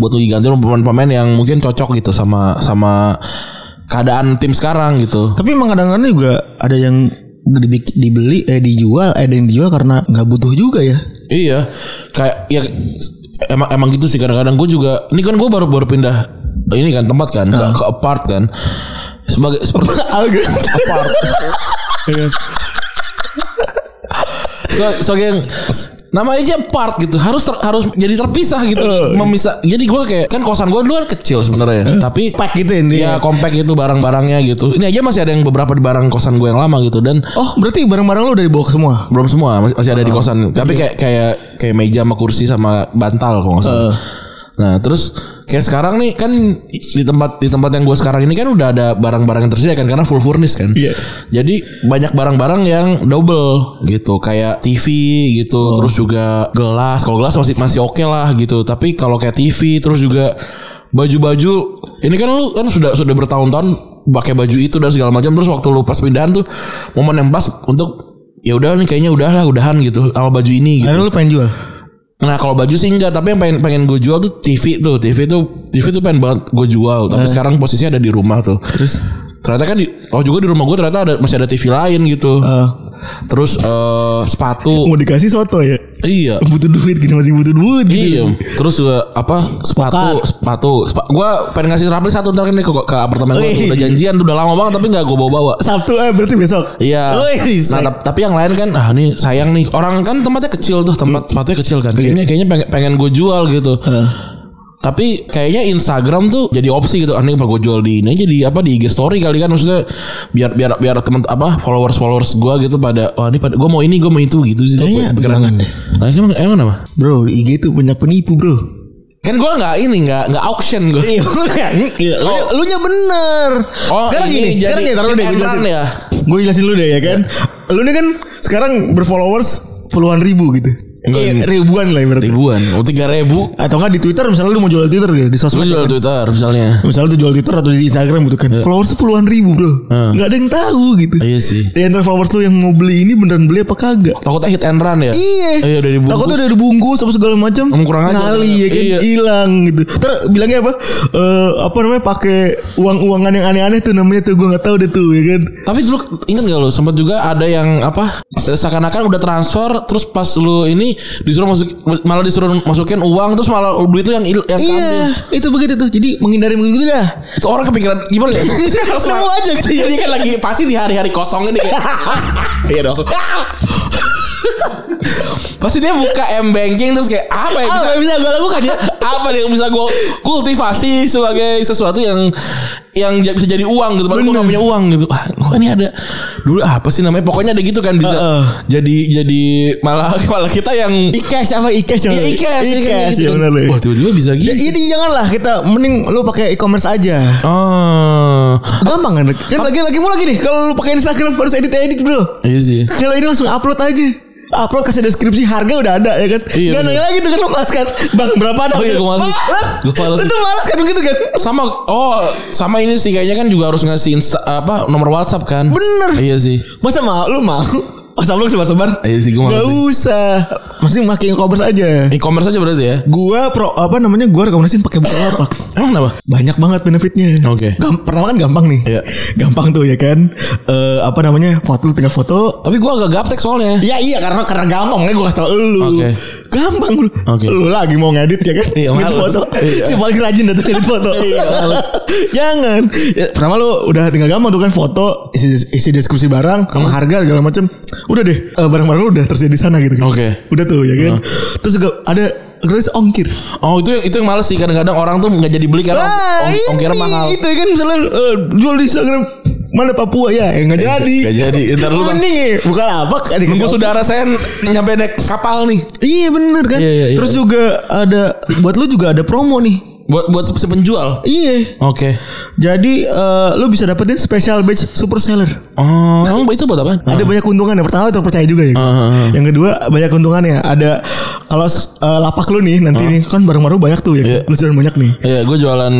buat diganti pemain-pemain yang mungkin cocok gitu sama sama keadaan tim sekarang gitu tapi emang kadang-kadang juga ada yang dibik- dibeli eh dijual eh ada yang dijual karena nggak butuh juga ya Iya, kayak ya emang emang gitu sih kadang-kadang gue juga. Ini kan gue baru baru pindah ini kan tempat kan ke, ke apart kan sebagai seperti apart. Iya. so, sebagai yang nama aja apart gitu harus ter- harus jadi terpisah gitu memisah jadi gue kayak kan kosan gue dulu kan kecil sebenarnya tapi pack gitu intinya ya compact itu barang-barangnya gitu ini aja masih ada yang beberapa di barang kosan gue yang lama gitu dan oh berarti barang-barang lu udah dibawa ke semua belum semua masih, masih ada di kosan tapi kayak kayak kayak meja sama kursi sama bantal kalau nggak salah nah terus kayak sekarang nih kan di tempat di tempat yang gue sekarang ini kan udah ada barang-barang yang tersedia kan karena full furnish kan Iya. jadi banyak barang-barang yang double gitu kayak TV gitu terus juga gelas kalau gelas masih masih oke lah gitu tapi kalau kayak TV terus juga baju-baju ini kan lu kan sudah sudah bertahun-tahun pakai baju itu dan segala macam terus waktu lu pas pindahan tuh momen yang pas untuk ya udah nih kayaknya udahlah udahan gitu sama baju ini gitu. Akhirnya lu pengen jual. Nah kalau baju sih enggak Tapi yang pengen, pengen gue jual tuh TV tuh TV tuh TV tuh pengen banget gue jual Tapi sekarang posisinya ada di rumah tuh Terus Ternyata kan di, Oh juga di rumah gue ternyata ada, masih ada TV lain gitu Heeh. Terus eh, sepatu mau dikasih soto ya? Iya Butuh duit gini masih butuh duit Iya gitu. Terus juga apa Sepatu Sepatu Sepa- Gue pengen ngasih rapli satu ntar kan nih ke, ke apartemen gue Wih. Udah janjian tuh udah lama banget Tapi gak gue bawa-bawa Sabtu eh berarti besok. Iya. Wih, Nah, tap- tapi yang lain kan ah nih sayang nih. Orang kan tempatnya kecil tuh, Hmm. tempat tempatnya kecil Iya. kan. Kayaknya kayaknya pengen, pengen gue jual gitu. Tapi kayaknya Instagram tuh jadi opsi gitu. Aneh apa gue jual di ini jadi apa di IG story kali kan maksudnya biar biar biar teman apa followers followers gue gitu pada wah ini pada gue mau ini gue mau itu gitu sih. Kayaknya Gue pikiran. jangan deh. Nah, emang emang apa? Bro, di IG tuh banyak penipu, Bro. Kan gue nggak ini nggak nggak auction gue. Iya, lu lu nya bener. Oh, sekarang ini gini, jadi sekarang nih taruh deh gue in and jelasin. run ya? Gue jelasin dulu deh ya kan. Lu nih kan sekarang berfollowers puluhan ribu gitu. Enggak, Eh, enggak. ribuan lah ibaratnya. Ribuan, oh tiga ribu. Atau enggak di Twitter misalnya lu mau jual Twitter gitu, di Gue sosmed. jual Twitter misalnya. Kan Misalnya tuh jual Twitter atau di Instagram gitu kan. Followers tuh puluhan ribu, Bro. Heeh. Enggak ada yang tahu gitu. Iya sih. Di antara followers lu yang mau beli ini beneran beli apa kagak? Takutnya hit and run ya? Iya. Iya udah dibungkus. Takutnya udah dibungkus apa segala macam. Emang kurang aja. Ngali ya kan Iya. hilang gitu. Ter bilangnya apa? Eh apa namanya pakai uang-uangan yang aneh-aneh tuh namanya tuh gua nggak tahu deh tuh ya kan. Tapi dulu ingat gak lu sempat juga ada yang apa eh, seakan-akan udah transfer terus pas lu ini disuruh masuk malah disuruh masukin uang terus malah duit itu yang il- yang Iya, kambil. itu begitu tuh. Jadi menghindari begitu dah. Itu orang kepikiran gimana ya? Nemu aja gitu. Jadi dia kan lagi pasti di hari-hari kosongnya dia. kayak, Iya dong. pasti dia buka m banking terus kayak apa yang bisa Apa yang bisa gua lakukan ya? apa yang bisa gue kultivasi sebagai sesuatu yang yang j- bisa jadi uang gitu, padahal gue gak punya uang gitu. Wah, gua ini ada dulu apa sih namanya? Pokoknya ada gitu kan bisa Heeh. jadi jadi malah malah kita yang Ikesh apa Ikesh? Iya, ikas, Ikesh. ikas, Ikesh gitu. ya benar lu. Wah tiba-tiba bisa Ya, gitu. ini janganlah kita mending lu pakai e-commerce aja. Oh, Gampang kan? Kan lagi lagi mau lagi nih kalau lu pakai Instagram harus edit-edit, Bro. iya sih. Kalau ini langsung upload aja. Upload kasih deskripsi harga udah ada ya kan. Iya, Gak nanya bener. lagi tuh kan lu malas kan. Bang berapa ada? Oh iya, gua malas. Gua malas. Lu tuh malas kan begitu kan. Sama oh sama ini sih kayaknya kan juga harus ngasih insta, apa nomor WhatsApp kan? Bener. Iya sih. Masa mau lu mau? Masa lu sebar-sebar? Iya sih, gua malas Gak sih. usah. Mending makin e-commerce aja. E-commerce aja berarti ya. Gua pro apa namanya? Gua rekomendasiin pakai Bukalapak. Emang kenapa? Banyak banget benefitnya. Oke. Gam- pertama kan gampang nih. Iya. Gampang tuh ya kan. Eh apa namanya? Foto lu tinggal foto, Tapi gua agak gaptek soalnya. Ya iya karena karena gampang kan gue kasih tau lu. Oke. Gampang lu. Oke. Lu lagi mau ngedit ya kan? Iya, Ngedit males. foto. Iya. Si paling rajin datang ngedit foto. Iya, males. Jangan. Ya, pertama lu udah tinggal gampang tuh kan foto, isi, isi deskripsi barang, sama Hmm. harga segala macam. Udah deh, eh, barang-barang lu udah tersedia di sana gitu kan. Oke. Udah tuh ya kan. Terus juga ada gratis ongkir. Oh itu itu yang males sih kadang-kadang orang tuh nggak jadi beli Wah, karena ong, Nah, ini, ongkirnya mahal. Itu ya kan misalnya eh, jual di Instagram mana Papua ya, eh, nggak jadi. Iya, nggak jadi. Ntar lu, Bang. Mending ya, buka lapak. ada Nunggu kasih saudara saya nyampe naik kapal nih. Iya bener kan. Iya, iya, iya. Terus juga ada buat lu juga ada promo nih. Buat buat si penjual. Iya. Oke. Jadi eh, lu bisa dapetin special badge super seller. Oh, emang itu buat apa? Ada banyak keuntungan yang pertama terpercaya juga ya. Ah, ah, ah. Yang kedua banyak keuntungannya. Ada kalau eh, lapak lu nih nanti nih kan barang-barang banyak tuh ya. Ah. Iya. Lu jualan banyak nih. Iya, gue jualan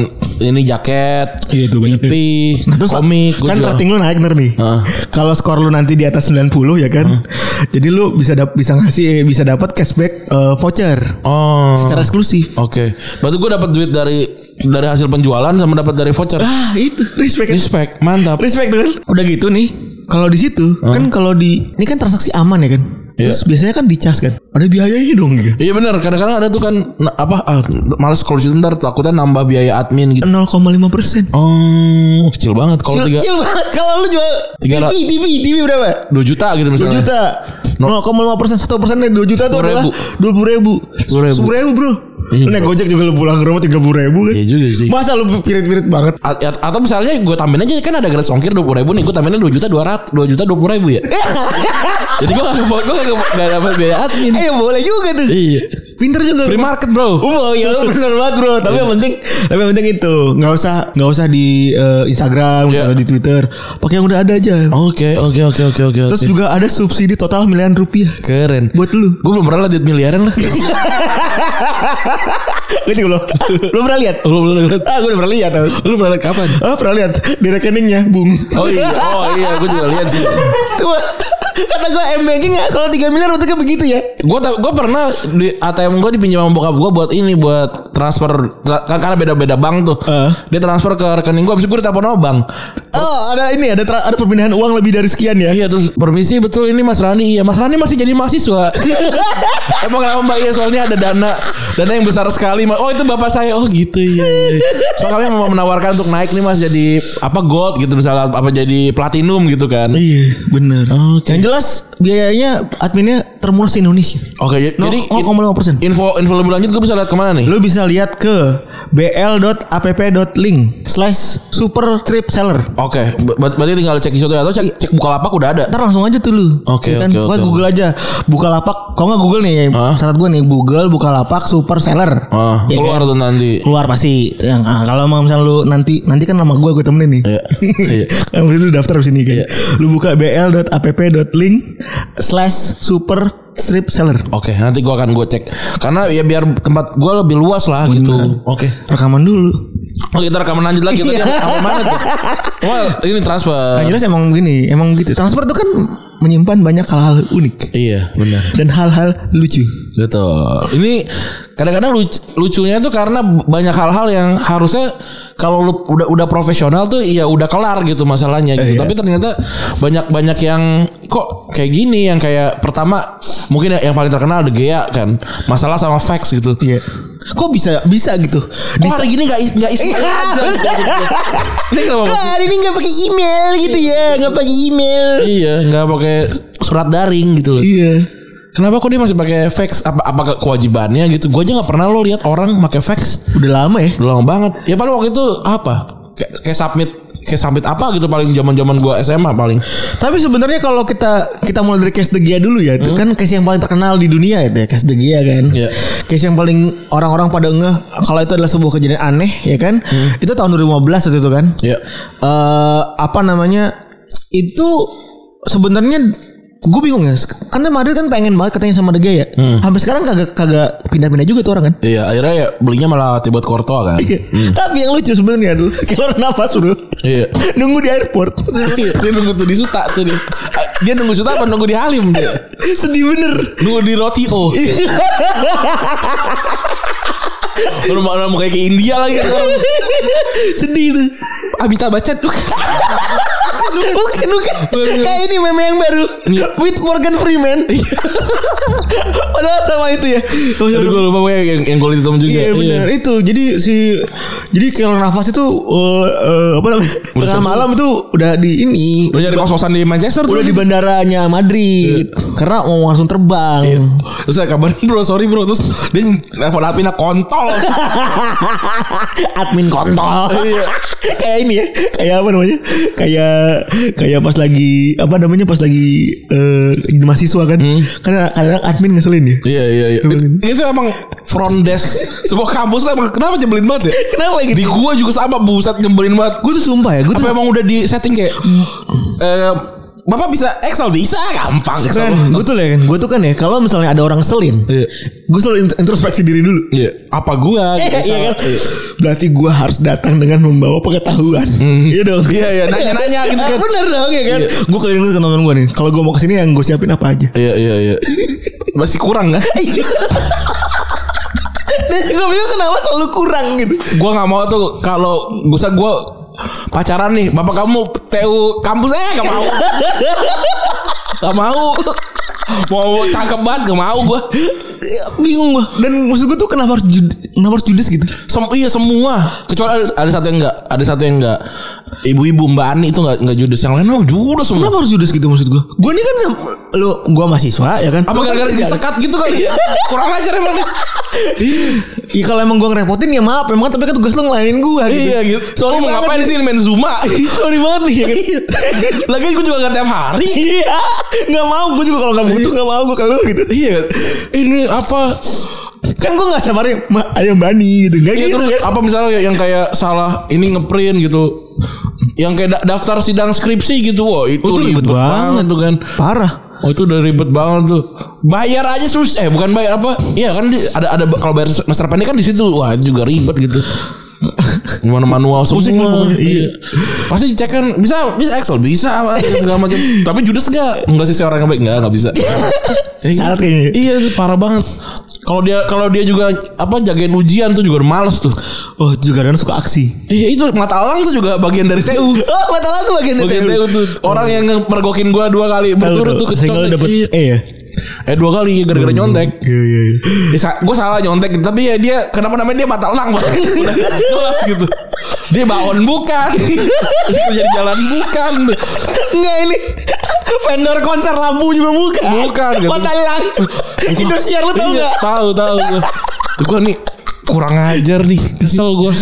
ini jaket, Iya, itu banyak pipi, Nah, terus komik, gue kan jual. rating lu naik ntar nih. Ah. Kalau skor lu nanti di atas 90 ya kan. Jadi lu bisa dap bisa ngasih bisa dapat cashback eh, voucher Oh. secara eksklusif. Oke. Berarti gue dapat duit dari dari hasil penjualan sama dapat dari voucher. Ah, itu respect. Respect, mantap. Respect tuh kan. Udah gitu nih. Kalau di situ kan kalau di ini kan transaksi aman ya kan. Iya. Terus biasanya kan dicas kan. Ada biayanya dong ya. Iya benar, kadang-kadang ada tuh kan nah, apa ah, males kalau di situ ntar takutnya nambah biaya admin gitu. 0,5 persen. Oh, kecil banget kalau tiga Kecil banget kalau lu jual Tiga TV, rat- TV, TV berapa? 2 juta gitu 2 misalnya. juta. 0,5 persen, 1 persen dari 2 juta itu 10.000. adalah 20 ribu. 10.000. 10 ribu bro. Lu naik gojek juga lu pulang ke rumah 30 ribu kan. Iya juga sih. Masa lu pirit-pirit banget. A- a- atau misalnya gue tambahin aja kan ada gratis ongkir dua puluh ribu nih gue tambahin dua juta dua ratus dua juta dua puluh ribu ya Jadi gue gak, gue gak, gak dapat biaya admin. Eh boleh juga tuh. Iya. Pinter juga. Free market bro. Oh ya lu bener banget bro Tapi Iya. yang penting Tapi yang penting itu Gak usah Gak usah di eh, Instagram Iya. Oh, nggak usah di Twitter Pakai yang udah ada aja Oke oke oke oke oke. Terus Terus juga ada subsidi total miliaran rupiah keren. Buat lu Gue belum pernah lihat duit miliaran lah. Gue juga belum Belum pernah lihat Lu belum lihat. Ah gue udah pernah lihat tau. Lu pernah lihat kapan? Ah pernah lihat Di rekeningnya Bung Oh iya, oh iya, gue juga lihat sih. Semua Kata gue M-Banking nggak, Kalau 3 miliar bentuknya begitu ya Gue gue pernah di ATM gue dipinjam sama bokap gue buat ini buat transfer tra- kan karena beda-beda bank tuh. Eh. Dia transfer ke rekening gue, abis itu gue ditelepon sama bank. Oh ada ini Ada, tra- ada pemindahan uang lebih dari sekian ya Iya terus permisi betul ini Mas Rani Iya Mas Rani masih jadi mahasiswa Emang kenapa Mbak Iya soalnya ada dana Dana yang besar sekali Mas. Oh itu bapak saya Oh gitu ya Soalnya kami mau menawarkan untuk naik nih Mas Jadi apa gold gitu misalnya Apa jadi platinum gitu kan Iya bener Yang jelas Biayanya Adminnya termurah se Indonesia Oke ya, jadi No, in- 0,5%. Info info lebih lanjut gue bisa lihat kemana nih Lu bisa lihat ke bl.app.link slash super trip seller. Oke ber- berarti tinggal cek di situ ya, Atau cek, cek buka lapak udah ada Ntar langsung aja tuh lu. Oke, Ya kan? oke, Pokoknya oke, Google aja. Buka lapak. Kalau nggak Google nih, Hah? syarat gue nih Google buka lapak super seller. Ah, Ya Keluar kan? tuh nanti keluar pasti. Yang ah, kalau emang misalnya lu nanti nanti kan nama gue gue temenin nih. Iya Iya Yang penting lu daftar di sini kan. Lu buka bl.app.link slash super strip seller. Oke, nanti gua akan gue cek karena ya biar tempat gua lebih luas lah gitu. Oke. Rekaman dulu. Oh kita rekaman lanjut lagi tadi apa mana tuh? Wah ini Nah, transfer. jelas emang begini, emang gitu. Transfer itu kan menyimpan banyak hal-hal unik. Iya benar. dan hal-hal lucu. Betul. Ini kadang-kadang luc- lucunya tuh karena banyak hal-hal yang harusnya kalau lu udah udah profesional tuh ya udah kelar gitu masalahnya Eh, iya. gitu. Tapi ternyata banyak-banyak yang kok kayak gini yang kayak pertama mungkin yang paling terkenal De Gea kan. Masalah sama fax gitu. Iya. Kok bisa bisa gitu? Di Di hari gini gak nggak Ismail Iya. aja. Ini kenapa Kok hari ini nggak pakai email gitu ya? Nggak pakai email. Iya, nggak pakai surat daring gitu loh. Iya. Kenapa kok dia masih pakai fax? Apa apa ke- kewajibannya gitu? Gue aja nggak pernah lo lihat orang pakai fax. Udah lama ya? Udah lama banget. Ya paling waktu itu apa? Kayak, kayak submit kayak submit apa gitu paling zaman-zaman gua SMA paling. Tapi sebenarnya kalau kita kita mulai dari case De Gea dulu ya, itu kan case yang paling terkenal di dunia itu ya, case De Gea kan. Iya. Case yang paling orang-orang pada ngeh kalau itu adalah sebuah kejadian aneh ya kan. Itu tahun 2015 waktu itu kan. Iya. eh apa namanya itu sebenarnya gue bingung ya karena Madrid kan pengen banget katanya sama De Gea ya Hmm. sampai sekarang kagak kagak pindah-pindah juga tuh orang kan Iya. Iya, akhirnya ya belinya malah tiba Kortoa kan. tapi yang lucu sebenarnya dulu keluar nafas bro Iya. nunggu di airport dia nunggu tuh di Suta tuh dia. Dia nunggu Suta apa nunggu di Halim dia? sedih bener Nunggu di Roti O. Orang orang mau kayak ke India lagi orang. sedih tuh Abita baca tuh. bukan bukan kayak ini meme yang baru Iya. with Morgan Freeman padahal sama itu ya Oh, ya, Aduh gue lupa gue yang yang kulit hitam juga. Iya benar itu. Jadi si jadi kalau nafas itu eh, eh, apa namanya? tengah sembuh. malam itu udah di ini Lu nyari kos-kosan di Manchester udah di bandaranya Madrid Iya. karena mau langsung terbang. Terus saya kabarin bro sorry bro Terus dia nelfon admin kontol Admin kontol. Iya. kayak ini ya. Kayak apa namanya? Kayak kayak pas lagi apa namanya? Pas lagi eh di mahasiswa kan. Hmm. Karena kadang admin ngeselin ya. Iya iya iya Itu emang front desk Sebuah kampus emang Kenapa nyebelin banget ya Kenapa gitu? Di gua juga sama buset nyebelin banget Gue tuh sumpah ya, gue tuh Apa emang udah di setting kayak eh, Bapak bisa Excel bisa gampang Excel Gue tuh ya kan, gue tuh kan ya kalau misalnya ada orang ngeselin, Iya. gue selalu int- introspeksi diri dulu. Iya Apa gua Eh, gitu, iya kan? salah. Berarti gue harus datang dengan membawa pengetahuan. Iya dong. Iya, iya, nanya-nanya gitu kan. Ah, Bener dong ya kan. Iya. Gue keliling dulu ke teman gue nih. Kalau gue mau kesini yang gue siapin apa aja. Iya iya iya Masih kurang kan Dan gue bilang kenapa selalu kurang gitu. Gua nggak mau tuh kalau gua gua pacaran nih bapak kamu TU kampus eh gak mau gak mau mau cakep banget gak mau gua Ya, bingung gue. Dan maksud gue tuh kenapa harus jud- kenapa harus judes gitu? Sem iya semua kecuali ada, ada satu yang enggak ada satu yang enggak ibu-ibu mbak Ani itu enggak enggak judes yang lain oh, judes semua Kenapa harus judes gitu maksud gue? Gue ini kan lo gue mahasiswa ya kan? apa gara-gara disekat gitu kali ya? kurang ajar emang nih. Iya kalau emang gue ngerepotin ya maaf emang kan tapi kan tugas lo ngelainin gue gitu. iya gitu Sorry soalnya mau banget ngapain nih. sih main zuma Sorry banget nih ya kan? lagi gue juga nggak tiap hari Iya Gak mau gue juga kalau gak butuh gak mau gue kalau gitu iya ini apa Kan gue gak sabarin "Ma, Ayo bani gitu Gak Iya gitu terus kan apa misalnya yang kayak salah ini ngeprint gitu. Yang kayak da- daftar sidang skripsi gitu. Wah, itu, Oh, itu ribet, ribet banget. banget. tuh kan. Parah Oh, itu udah ribet banget tuh. Bayar aja sus eh bukan bayar apa? Iya kan di, ada ada kalau bayar master pendek kan di situ. Wah, itu juga ribet gitu. Gimana manual semua. Pusing lah pokoknya, iya. Iya. Pasti dicek kan bisa bisa Excel bisa apa, segala macam. Tapi judes enggak? Enggak sih saya orang yang baik enggak enggak bisa. Iya. Syarat kayaknya. Iya, itu parah banget. Kalau dia kalau dia juga apa jagain ujian tuh juga udah males tuh. Oh juga kadang suka aksi Iya itu mata elang tuh juga bagian dari TU. Oh mata tuh bagian Bagian TU tuh orang yang mergokin gua dua kali berturut tuh Single kecontek. dapet Iya. Eh ya Eh dua kali gara-gara nyontek. Iya iya iya. Ya, sa- gua salah nyontek tapi ya dia kenapa namanya dia mata elang Bang? Udah jelas gitu. Dia baon bukan. Terus kerja di jalan bukan. Enggak ini Vendor konser lampu juga bukan Bukan, gitu. Mata lang Indosiar lu tau Iya, gak Tahu tahu gua. Tuh gua nih kurang ajar nih kesel gua.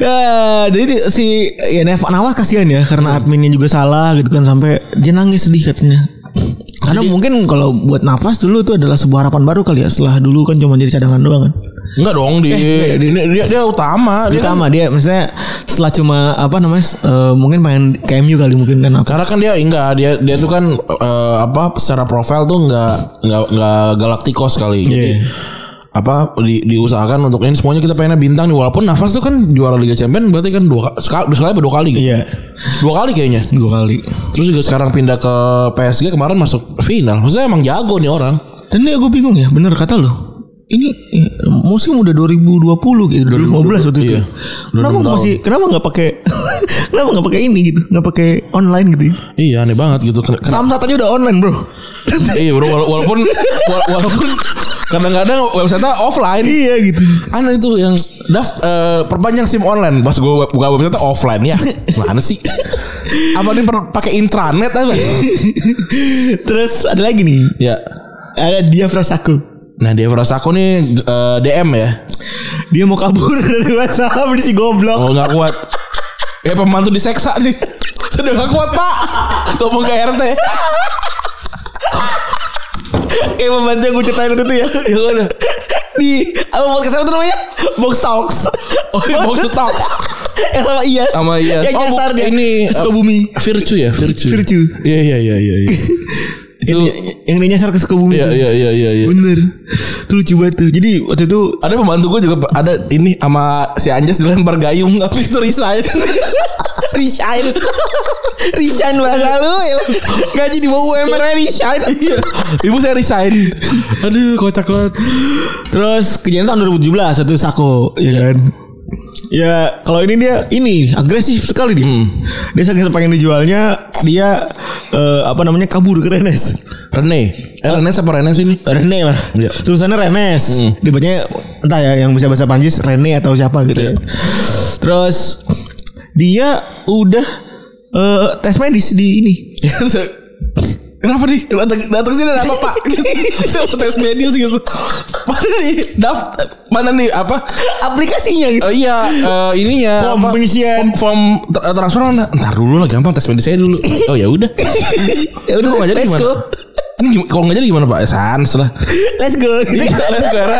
Ya, jadi di- si ya Neva Nawas kasihan ya karena adminnya juga salah gitu kan sampai dia nangis sedih katanya. Karena mungkin kalau buat nafas dulu itu adalah sebuah harapan baru kali ya setelah dulu kan cuma jadi cadangan doang kan. Enggak dong di Eh, dia, dia, dia utama dia kan- Utama dia maksudnya setelah cuma apa namanya eh, mungkin pengen KMU kali mungkin kan apa. Karena kan dia enggak dia dia tuh kan eh, apa secara profil tuh enggak enggak enggak galaktikos kali. Jadi Iya. apa di, diusahakan untuk ini semuanya kita pengennya bintang nih walaupun nafas tuh kan juara Liga Champion berarti kan dua sekali sekali apa dua kali gitu. Iya, Dua kali kayaknya. dua kali. Terus juga sekarang pindah ke PSG kemarin masuk final. Maksudnya emang jago nih orang. Dan ya gue bingung ya, bener kata lo. Ini eh, musim udah 2020 gitu, 2015 waktu itu. Iya. Udah Kenapa enam tahun. masih kenapa nggak pakai kenapa nggak pakai ini gitu, nggak pakai online gitu? ya? Iya aneh banget gitu. Ken- ken- Samsat aja udah online bro iya bro wala- walaupun wala- walaupun kadang-kadang website offline. Iya gitu Aneh itu yang daft eh, perpanjang SIM online. Pas gue buka website offline ya. Mana sih? Apa nih per- pakai intranet apa? Terus ada lagi nih ya. Ada dia aku Nah, dia merasa aku nih eh, DM ya. Dia mau kabur dari WhatsApp Dia si goblok Oh, nggak kuat. Ya pembantu diseksa nih. Sudah nggak kuat, Pak. Ngomong ke RT. Eh membantu yang gue ceritain itu tuh ya Ya udah. Di Apa podcast apa tuh namanya Box Talks Oh, iya, box to talk. Yang sama Iyas Sama Iyas. Yang Oh, nyasar bu- dia ini, Ke eh, Sukabumi Virtue ya, Virtue. Virtue. Iya, iya, iya, iya. iya. Itu Yang dia nyasar ke Sukabumi iya, tuh. iya, iya, iya, iya. Bener Itu lucu banget tuh Jadi waktu itu Ada pembantu gue juga ada ini sama si Anjas dilempar gayung tapi itu resign. Resign Resign bahasa lu ya. Gaji di bawah UMR -nya Resign Ibu saya resign. Aduh, kocak banget. Terus kejadian tahun 2017 satu Sako ya kan. Ya kalau ini dia ini agresif sekali dia. Dia saking pengen dijualnya dia eh, apa namanya kabur ke Renes. Rene. Eh, Rene siapa Rene sih ini? Rene lah. Iya. Hmm. Tulisannya Renes. Dibacanya entah ya yang bisa bahasa Prancis Rene atau siapa gitu. Iya. ya. Terus dia udah eh, tes medis di ini. Kenapa nih? Datang, datang sini ada apa pak? Saya mau tes medis gitu. Mana nih? Daft, mana nih? Apa? Aplikasinya gitu. Eh, iya, eh, ininya Form apa? pengisian. Form, form tra- transfer mana? Ntar dulu lah, gampang tes medis saya dulu. Oh ya udah. ya udah, nggak jadi Let's gimana? go. Ini gim- kalau nggak jadi gimana pak? Eh, Sans lah. Let's go. Iya, ada suara,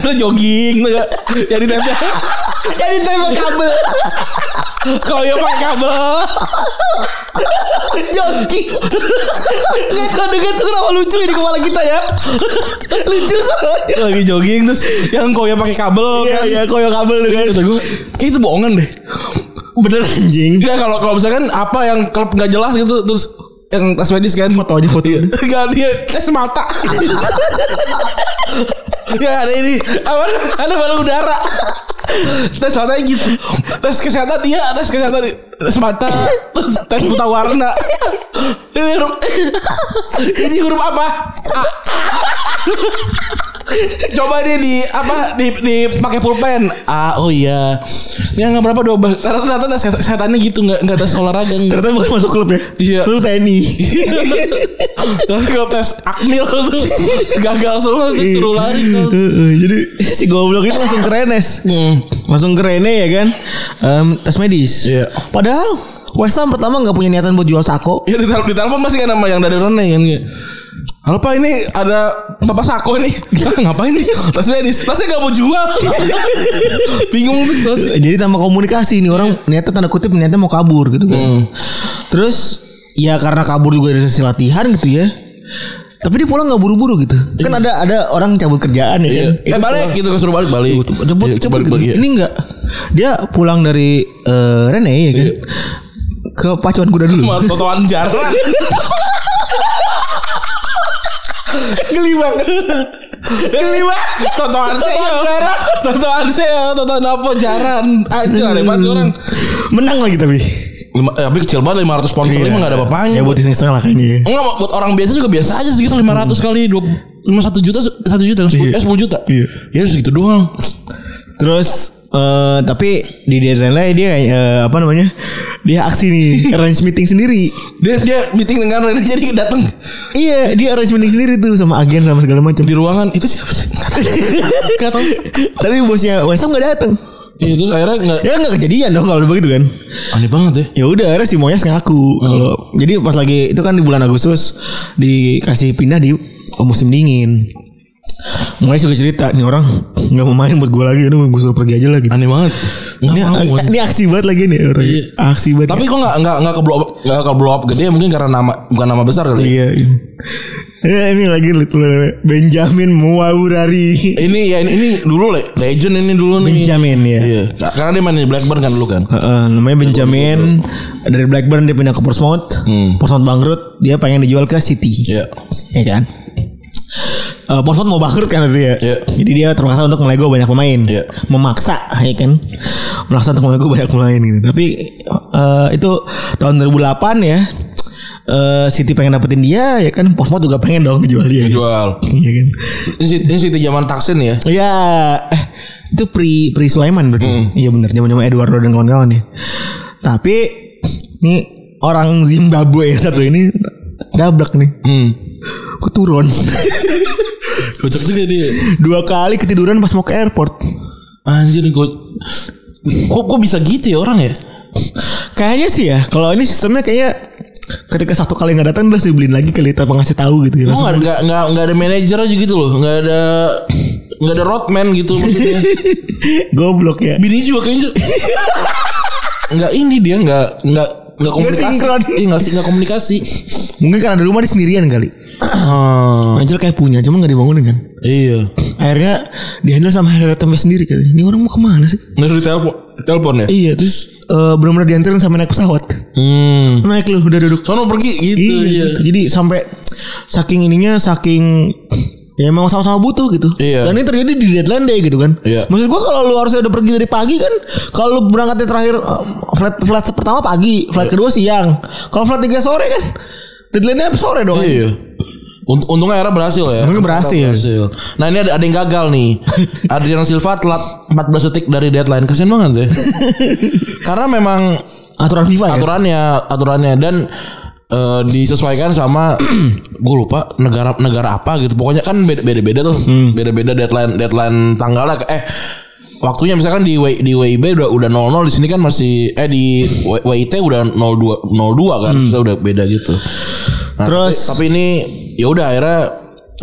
ada jogging, tuh nggak? Yang ditempel. Jadi tempel kabel. Kalau yang pakai kabel. Joki Nggak kadang tuh kenapa lucu ya di kepala kita ya Lucu soalnya lagi jogging terus yang kau yang pakai kabel Iya kan. iya koyo kabel tuh kan Kata gue, kayak itu bohongan deh. Bener anjing Enggak kalau kalau misalkan apa yang klub nggak jelas gitu terus yang tes medis kan Foto aja foto Enggak dia Eh, tes mata. ya ada ini apa ada balon udara. tes mata gitu. Tes kesehatan dia, tes kesehatan dia. tes mata, terus tes buta warna. Ini huruf ini huruf apa? A. Coba deh di apa di di pakai pulpen. Ah oh iya. Ya nggak berapa 12. Ternyata ternyata set- setannya gitu nggak nggak ada olahraga nggak. Ternyata bukan masuk klub ya. Iya. Lu TNI. Terus kalau tes akmil tuh gagal semua tuh suruh lari. tuh. Heeh, Jadi si goblok itu langsung kerenes. Hmm. Langsung kerene ya kan. Em, tes medis. Iya. Padahal West Ham pertama nggak punya niatan buat jual sako. Ya di telepon, di telepon pasti kan nama yang dari Rene kan kayak, Halo Pak ini ada Papa Sako nih "Hah, Ngapain nih Tas medis Tasnya gak mau jual Bingung Iya. tuh tas Jadi tanpa komunikasi nih orang niatnya tanda kutip niatnya mau kabur gitu kan. Hmm. Terus ya karena kabur juga dari sesi latihan gitu ya. Tapi dia pulang nggak buru-buru gitu. Kan ada ada orang cabut kerjaan ya kan. Iya. Eh Itu balik gitu Suruh balik balik Jemput, Iya, jemput balik, gitu. balik, iya. Ini enggak. Dia pulang dari eh, Rene ya kan. Iya. Ke pacuan kuda dulu. Cuma totoan jarang Geli banget Geli banget Totoan saya jarang Totoan saya Totoan apa jarang Anjir aneh banget ya, orang Menang lagi tapi. Lima- eh, Tapi kecil banget 500 pound Ini mah gak ada Ya apa-apanya buat iseng-iseng lah kayaknya. Enggak buat orang biasa juga biasa aja segitu 500 kali 20 lima satu juta satu juta Hmm. sepuluh- Iya. eh sepuluh juta Iya. ya segitu doang Terus eh tapi di desain lain dia kayak eh, apa namanya? Dia aksi nih, arrange meeting sendiri. dia dia meeting dengan Rene jadi datang Iya, dia arrange meeting sendiri tuh sama agen sama segala macam. di ruangan itu siapa sih Nggak tahu. nggak tahu tapi bosnya West Ham gak datang. Iya, terus akhirnya nggak Ya nggak kejadian dong kalau begitu kan. aneh banget Ya ya udah akhirnya si Moyes Hmm. ngaku kalau jadi pas lagi itu kan di bulan Agustus dikasih pindah di Oh, musim dingin. Moyes juga cerita nih orang nggak mau main buat gue lagi, ini gue suruh pergi aja lagi. aneh banget Ini, eh, nggak mau ini aksi banget lagi nih orang. Iya. Aksi banget. tapi kok nggak nggak nggak ke blow up nggak ke blow up gede ya? mungkin karena nama bukan nama besar kali ya. iya. iya. Eh, ini lagi tulisannya Benjamin Muaurari. ini ya ini, ini dulu le legend ini dulu nih Benjamin, ya. iya karena dia main di Blackburn kan dulu kan Heeh, namanya Benjamin dari Blackburn dia pindah ke Portsmouth. Portsmouth bangkrut, dia pengen dijual ke City. Hmm. Iya. Ya kan? Eh, Portsmouth mau bangkrut kan itu ya. Iya. Jadi dia terpaksa untuk melego banyak pemain. Iya. Memaksa ya kan. Memaksa untuk melego banyak pemain gitu. Tapi eh, itu tahun 2008 ya. Eh, City pengen dapetin dia ya kan. Portsmouth juga pengen dong jual dia. gitu. jual Iya kan. ini Siti- ini Siti zaman Taksin ya Iya. Eh, itu pri pri Sulaiman berarti. Hmm. Iya benar, zaman-zaman Eduardo dan kawan-kawan ya. Tapi ini orang Zimbabwe yang satu ini dablek nih. hmm. Keturun. Kocak juga dia. Dua kali ketiduran pas mau ke airport. Anjir gue Kok, kok bisa gitu ya orang ya? Kayaknya sih ya, kalau ini sistemnya kayaknya ketika satu kali nggak datang udah dibeliin lagi kali tanpa ngasih tahu gitu ya. Kok Langsung- gak, nggak nggak nggak ada manajer aja gitu loh Gak ada Gak ada roadman gitu maksudnya Goblok ya. Bini juga kayaknya Gak ini dia Gak Gak Gak komunikasi sinkron. Iya gak, nggak komunikasi Mungkin karena di rumah dia sendirian kali. Oh. Anjir kayak punya, cuma nggak dibangunin kan. Iya Akhirnya dihandle sama Harry sendiri katanya. Ini orang mau kemana sih? Nggak dari telepon Telepon ya? Iya terus eh benar-benar dianterin sampai naik pesawat. Hmm Naik lu udah duduk. Sono pergi gitu Iya gitu. Jadi sampai saking ininya saking ya emang sama-sama butuh gitu. Iya. Dan ini terjadi di deadline day gitu kan. Iya. Maksud gua kalau lu harusnya udah pergi dari pagi kan kalau lu berangkatnya terakhir eh, flight flight pertama pagi, flight Iya. kedua siang. Kalau flight tiga sore kan deadline-nya habis sore dong. Iya Unt- Untungnya akhirnya berhasil ya Untungnya berhasil. Nah ini ada, ada yang gagal nih Adrian Silva telat 14 detik dari deadline Kesian banget ya Karena memang Aturan FIFA ya. Aturannya Aturannya Dan eh, disesuaikan sama gue lupa negara negara apa gitu pokoknya kan beda beda beda tuh Hmm. beda beda deadline deadline tanggalnya eh waktunya misalkan di W, di WIB udah udah 00 di sini kan masih eh di W- WIT udah 02 02 kan Maksudnya udah beda gitu Hmm. Nah, Terus- tapi, tapi ini ya udah akhirnya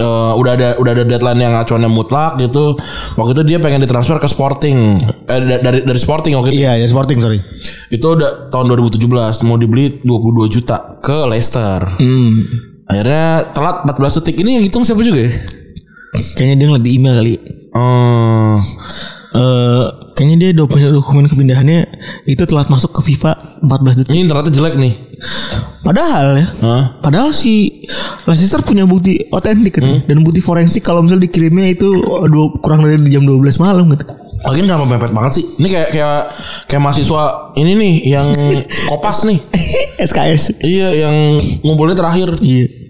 eh, udah ada udah ada deadline yang acuannya mutlak gitu waktu itu dia pengen ditransfer ke Sporting eh, da- dari dari Sporting waktu itu Iya, ya Sporting sorry. itu udah tahun 2017 mau dibeli 22 juta ke Leicester. Hmm. Akhirnya telat 14 detik ini yang hitung siapa juga ya? Kayaknya dia ngeliat di email kali. Hmm. Eh, kayaknya dia dokumen, dokumen kepindahannya itu telat masuk ke FIFA 14 detik. Ini internetnya jelek nih. Padahal ya, Hah? padahal si Leicester punya bukti otentik gitu, dan bukti forensik kalau misalnya dikirimnya itu oh, dua, kurang dari jam 12 malam gitu. Lagian kenapa mepet banget sih? Ini kayak kayak kayak mahasiswa ini nih yang kopas nih. SKS. Iya, yang ngumpulnya terakhir. Iya.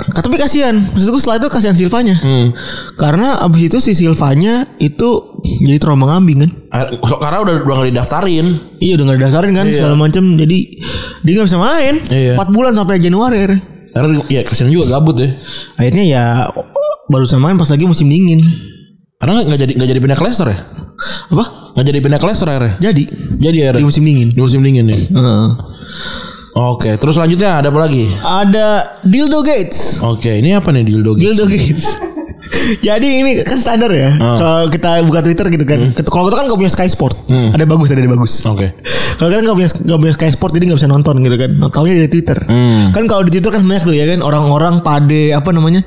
tapi kasihan maksudku setelah itu kasihan Silvanya Hmm. karena abis itu si Silvanya itu jadi trauma ngambing kan Ah, so- Karena udah udah gak didaftarin. iya udah nggak dasarin kan segala macem jadi dia nggak bisa main Iya. Empat bulan sampai Januari akhirnya. Karena ya kasihan juga gabut ya. akhirnya ya baru bisa main pas lagi musim dingin Karena nggak jadi nggak jadi pindah ke Leicester ya? apa Iya. Nggak jadi pindah ke Leicester akhirnya. jadi Jadi akhirnya di musim dingin di musim dingin ya. Heeh. Oke, terus selanjutnya ada apa lagi? ada dildo gates Oke, ini apa nih dildo Dildo gitu? Gates. Jadi ini kan standar ya. Ah. Kalau kita buka Twitter gitu kan. Hmm. Kalau kita kan gak punya Sky Sport. Ada bagus ada yang bagus. Oke. Kalau kita nggak punya nggak punya Sky Sport jadi nggak bisa nonton gitu kan. Taunya dari Twitter. Hmm. Kan kalau di Twitter kan banyak tuh ya kan orang-orang pade apa namanya?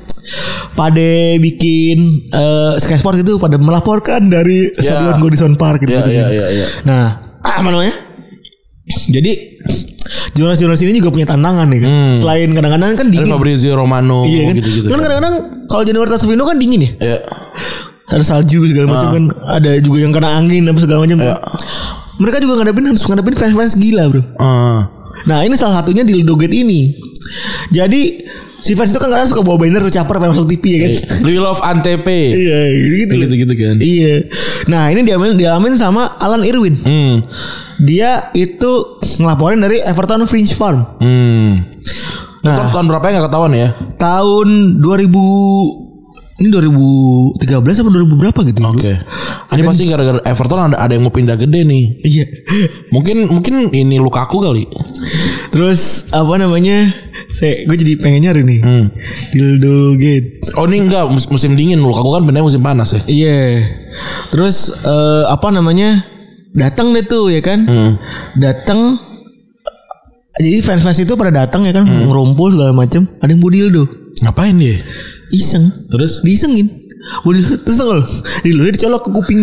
Pade bikin eh, Sky Sport itu pada melaporkan dari Ya. Stadion Godison Park gitu. Iya, iya, iya, iya. Nah, apa namanya? Jadi jurnalis-jurnalis ini juga punya tantangan nih kan. Selain kadang-kadang kan Hmm. Ada dingin. Fabrizio Romano Iya kan? Oh, gitu-gitu. kan kadang-kadang kalau Januari Tasvino kan dingin ya. Iya. Ada salju segala macam kan. Ada juga yang kena angin apa segala macam. Ah. Iya. Mereka juga ngadepin harus ngadepin fans-fans gila, Bro. Ah. Nah, ini salah satunya di Ludoget ini. Jadi si fans itu kan kadang suka bawa banner atau caper pengen masuk TV ya kan. We Eh, love Antep. Iya, gitu. gitu. Iya. Gitu-gitu kan. Iya. Nah, ini diamin diamin sama Alan Irwin. Hmm. Dia itu ngelaporin dari Everton Finch Farm Hmm. Nah. Itu tahun berapa ya nggak ketahuan ya? tahun 2000 ini 2013 apa 2000 berapa gitu. ya? Oke. Ini pasti gara-gara Everton ada ada yang mau pindah gede nih. Iya. Mungkin mungkin ini Lukaku kali. Terus apa namanya? Saya gue jadi pengen nyari nih. Dildo gate. Oh ini enggak mus- musim dingin Lukaku kan pindah musim panas ya. Iya. Terus eh, apa namanya? Datang deh tuh ya kan? Datang jadi fans-fans itu pada datang ya kan, ngerumpul segala macem Ada yang bawa dildo. Ngapain dia? Iseng. Terus Diisengin. Bawa dildo terus tau nggak lo? Dildonya dicolok ke kuping.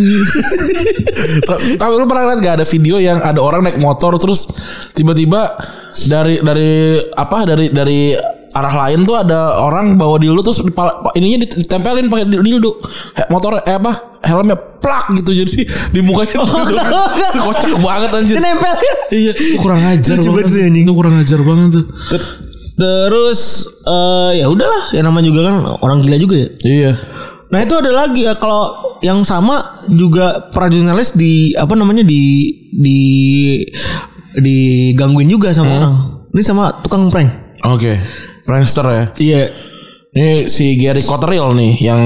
Ta- Tapi lu pernah lihat gak ada video yang ada orang naik motor terus tiba-tiba dari dari apa dari dari arah lain tuh ada orang bawa dildo terus dipala- ininya dit- ditempelin pakai dil- dildo He- motor eh apa helmnya plak gitu jadi di mukanya Oh, dildo. kocak banget anjir Dia nempel. iya kurang ajar Lucu banget banget sih, anjing. itu kurang ajar banget tuh Terus eh, ya udahlah, ya namanya juga kan orang gila juga ya. iya Nah itu ada lagi ya kalau yang sama juga para jurnalis di apa namanya di di digangguin juga sama orang. Ini sama tukang prank. oke prankster ya Iya. Ini si Gary Cotterill nih yang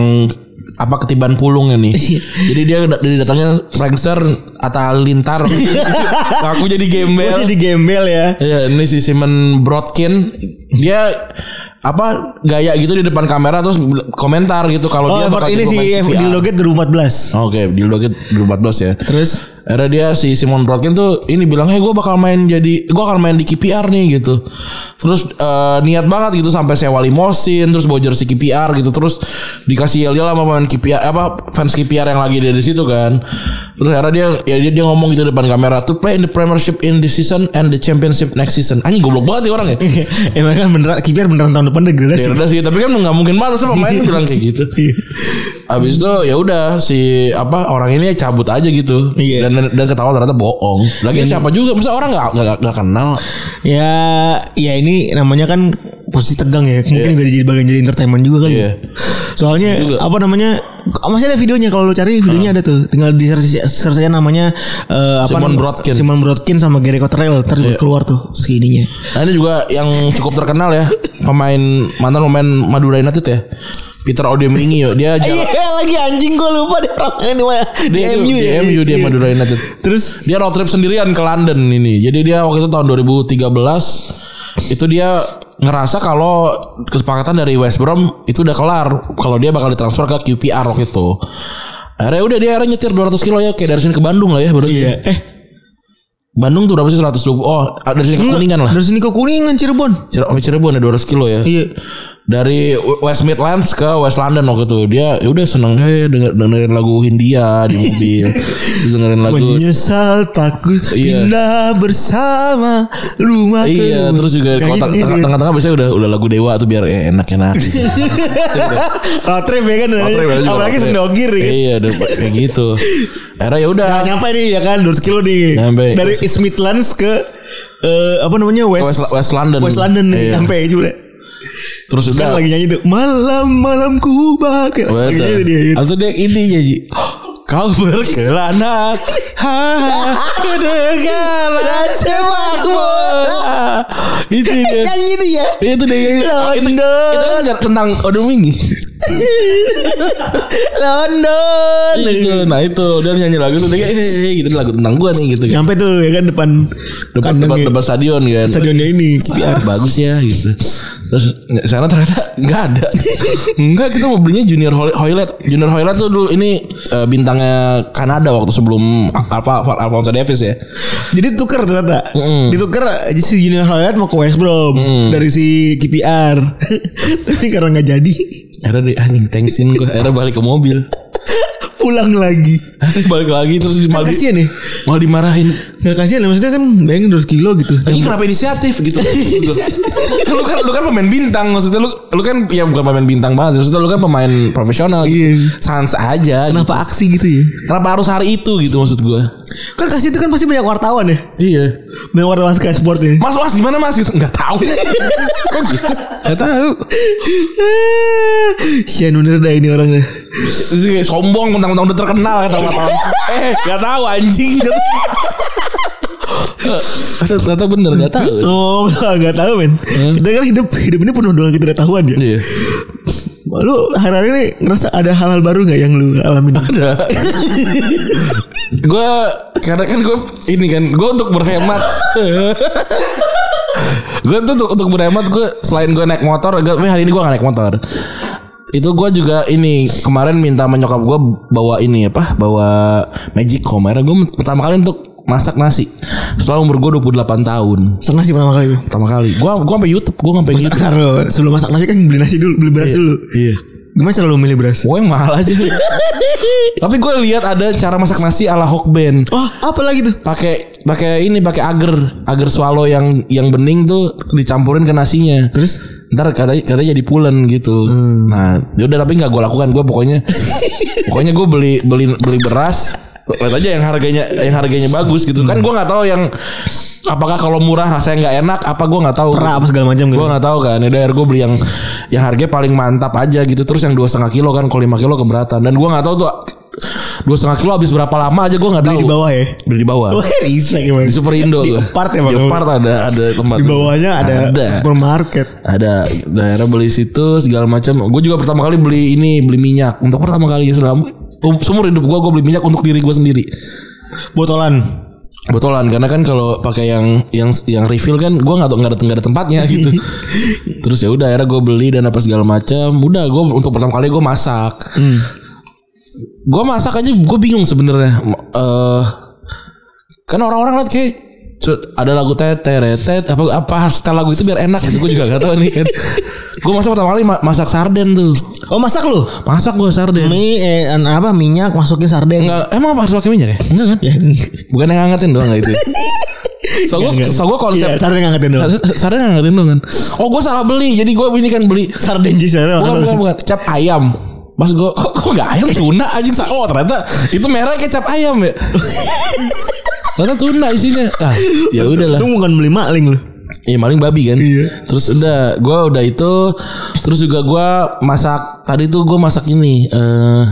apa ketiban pulungnya nih. Jadi dia da- dari datangnya prankster Atta Lintar. Aku jadi Gua gembel. jadi gembel ya. Iya, ini si Simon Brodkin dia apa gaya gitu di depan kamera terus komentar gitu kalau Oh, dia effort ini si jadi pemain di CVR. loget 2014. Oke, Dildo Gate 2014 ya. Terus Akhirnya dia si Simon Brodkin tuh ini bilang, "Hey, gue bakal main jadi gue akan main di KPR nih gitu." Terus eh, niat banget gitu sampai sewa limosin, terus bawa jersey KPR gitu, terus dikasih yel-yel sama pemain KPR apa fans KPR yang lagi ada di situ kan. Terus akhirnya dia ya dia, dia ngomong gitu depan kamera, "To play in the Premiership in this season and the Championship next season." Anjing goblok banget nih orang ya. Emang kan beneran kiper beneran tahun depan degradasi. Cerdas sih, tapi kan nggak mungkin banget sama pemain bilang kayak gitu. Iya. Abis itu ya udah si apa orang ini cabut aja gitu Iya. dan dan ketahuan ternyata bohong. Lagi siapa juga? Masa orang nggak nggak nggak kenal? Ya, ya ini namanya kan posisi tegang ya. Mungkin juga jadi bagian jadi entertainment juga kali. ya. Iya. Soalnya juga. Ah. apa namanya? oh, Masih ada videonya kalau lo cari videonya ada tuh. Tinggal di search search aja namanya eh, Simon Brodkin. Iya. Simon Brodkin sama Gary Cottrell terus keluar tuh segininya. Nah ini juga yang cukup terkenal ya pemain mantan pemain Madura United ya Peter Odemingi yo dia jalan Iya lagi anjing gue lupa deh orangnya di mana. Di dia MU ya. MU dia Madura United. Terus Dia road trip sendirian ke London ini. Jadi dia waktu itu tahun 2013 itu dia ngerasa kalau kesepakatan dari West Brom itu udah kelar kalau dia bakal ditransfer ke QPR waktu itu. Akhirnya udah dia akhirnya nyetir 200 kilo ya kayak dari sini ke Bandung lah ya berarti. Iya. Eh, Bandung tuh berapa sih 120? Oh, dari sini ke Kuningan lah. dari sini ke Kuningan Cirebon. Cire- sampai Cirebon ada 200 kilo ya. Iya. Dari West Midlands ke West London waktu itu dia ya udah seneng hey, denger, dengerin lagu Hindia di mobil. Terus dengerin lagu Menyesal takut Iya. pindah bersama rumah Iya, kamu. terus juga Kayak kalau teng- gitu. tengah- tengah-tengah biasanya udah udah lagu dewa tuh biar ya, enak-enak. road trip ya kan Road trip, juga Iya, apalagi road trip. sendokir ya kan Iya, udah kayak gitu. Era ya udah. Nah, nyampe nih ya kan 200 kilo nih Nyampe. dari East Midlands ke eh, apa namanya West West- West London. West London nih Iya. nyampe coba Terus Kan udah lagi nyanyi tuh malam malamku bahagia. Lagi nyanyi tuh dia. gitu. Betul. Atau dia ini ya Ji. Kau berkelana ha, ke negara sepak bola. Itu dia. Nyanyi tuh ya. Itu dia. Oh, Itu, London. itu kan tentang Odom Wingi. London. itu, nah itu dia nyanyi lagu itu dia kayak, "Eh, eh, eh," gitu lagu tentang gua nih gitu. Nyampe tuh ya kan depan Depan depan, kandangnya. depan stadion kan. stadionnya ini. PR bagus ya gitu. Terus nggak- sana ternyata nggak ada. Enggak kita mau belinya Junior Hoy- Hoylet. Junior Hoylet tuh dulu ini eh, bintangnya Kanada waktu sebelum Alfa Alfa- Alphonso Davis ya. Jadi tuker ternyata. Mm. Ditukar si Junior Hoyat mau ke West Brom dari si KPR. Tapi karena nggak jadi Akhirnya di anjing thanksin gue. Akhirnya balik ke mobil. pulang lagi. Akhirnya balik lagi terus Kan malah, di, kasihan ya. malah dimarahin. Nggak kasihan ya, maksudnya kan bayangin 200 kilo gitu. Lagi kenapa inisiatif gitu? Maksud gue. lu kan lu kan pemain bintang maksudnya lu lu kan ya bukan pemain bintang banget maksudnya lu kan pemain profesional. Iya. Gitu. Sans aja. Kenapa? Kenapa aksi gitu ya? Kenapa harus hari itu gitu maksud gue? Kan kasih itu kan pasti banyak wartawan ya. Iya. Banyak wartawan Sky Sport ya. Mas Mas gimana Mas? Gitu. Enggak tahu. Kok gitu? Enggak tahu. Sian bener dah ini orang dah. Terus dia kayak sombong mentang-mentang udah terkenal kata orang. Eh, enggak tahu anjing. Kata ternyata bener enggak tahu. Oh, nggak tahu men. Kita kan hidup hidup ini penuh dengan ketidaktahuan ya. Iya. Lu hari-hari ini ngerasa ada hal-hal baru nggak yang lu alamin? Ada. gue karena kan gue ini kan gue untuk berhemat gue tuh untuk, untuk berhemat gue selain gue naik motor gue hari ini gue gak naik motor itu gue juga ini kemarin minta menyokap gue bawa ini apa bawa magic home akhirnya gue pertama kali untuk masak nasi setelah umur gue 28 tahun Setengah sih pertama kali itu. pertama kali gue gue sampai YouTube gue sampai YouTube Taruh sebelum masak nasi kan beli nasi dulu, beli beras dulu. iya Gimana cara lu milih beras? gue yang mahal aja tapi gue lihat ada cara masak nasi ala Hokben Wah, apa lagi tuh? pakai pakai ini pakai agar agar swallow yang yang bening tuh dicampurin ke nasinya Terus? Hmm. ntar katanya katanya jadi pulen gitu nah ya udah tapi nggak gue lakukan gue pokoknya pokoknya gue beli beli beli beras lihat aja yang harganya yang harganya bagus gitu Hmm. kan gue nggak tahu yang apakah kalau murah rasanya nggak enak apa gue nggak tahu Pra apa segala macam gitu. gue nggak tahu kan ya gue beli yang yang harganya paling mantap aja gitu terus yang dua setengah kilo kan kalau lima kilo keberatan dan gue nggak tahu tuh dua setengah kilo habis berapa lama aja gue nggak tahu Beli di bawah ya. beli di bawah Wah, respect emang. di Super Indo Di gua. Upart ya, Bang? Di Upart ada ada tempat. Di bawahnya ada, ada supermarket. ada daerah beli situ segala macam. Gue juga pertama kali beli ini beli minyak untuk pertama kali selama um- seumur hidup gue gue beli minyak untuk diri gue sendiri Botolan. botolan karena kan kalau pakai yang yang yang refill kan gue nggak tau nggak ada nggak ada tempatnya gitu terus ya udah akhirnya gue beli dan apa segala macam udah gue untuk pertama kali gue masak gue masak aja gue bingung sebenarnya eh kan orang-orang liat kayak "Cut, ada lagu teteretet apa apa setel lagu itu biar enak gitu gue juga gak tahu nih kan gue masak pertama kali ma- masak sarden tuh Oh, masak lu? masak gue sarden Mie eh, an- apa minyak masukin sarden. Enggak, emang apa harus pakai minyak ya? Enggak kan? Ya. Bukan yang ngangetin doang gak itu. ya? So gue, Enggak. so gue konsep Iya, sarden ngangetin doang. Sar- Sarden yang ngertiin dong kan Oh gue salah beli Jadi gue ini kan beli Sarden di sana. Bukan bukan bukan Cap ayam Mas gue Kok, kok gak ayam tuna anjing Sa- Oh ternyata Itu merah kayak cap ayam ya Ternyata tuna isinya Ah ya udahlah Lu bukan beli maling lu. Iya maling babi kan Iya. Terus udah Gue udah itu Terus juga gue masak Tadi tuh gue masak ini eh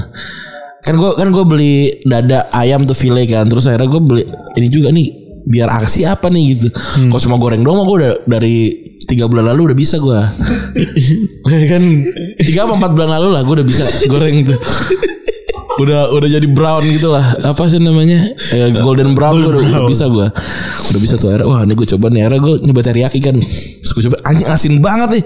Kan gue kan gue beli dada ayam tuh file kan Terus akhirnya gue beli Ini juga nih Biar aksi apa nih gitu Kalau cuma goreng doang Gue udah dari tiga bulan lalu udah bisa gue kan tiga apa empat bulan lalu lah gue udah bisa goreng tuh udah udah jadi brown gitu lah apa sih namanya Eh, golden brown gue udah, udah bisa gue udah bisa tuh akhirnya wah ini gue coba nih akhirnya gue nyoba teriyaki kan Terus gue coba anjing asin banget nih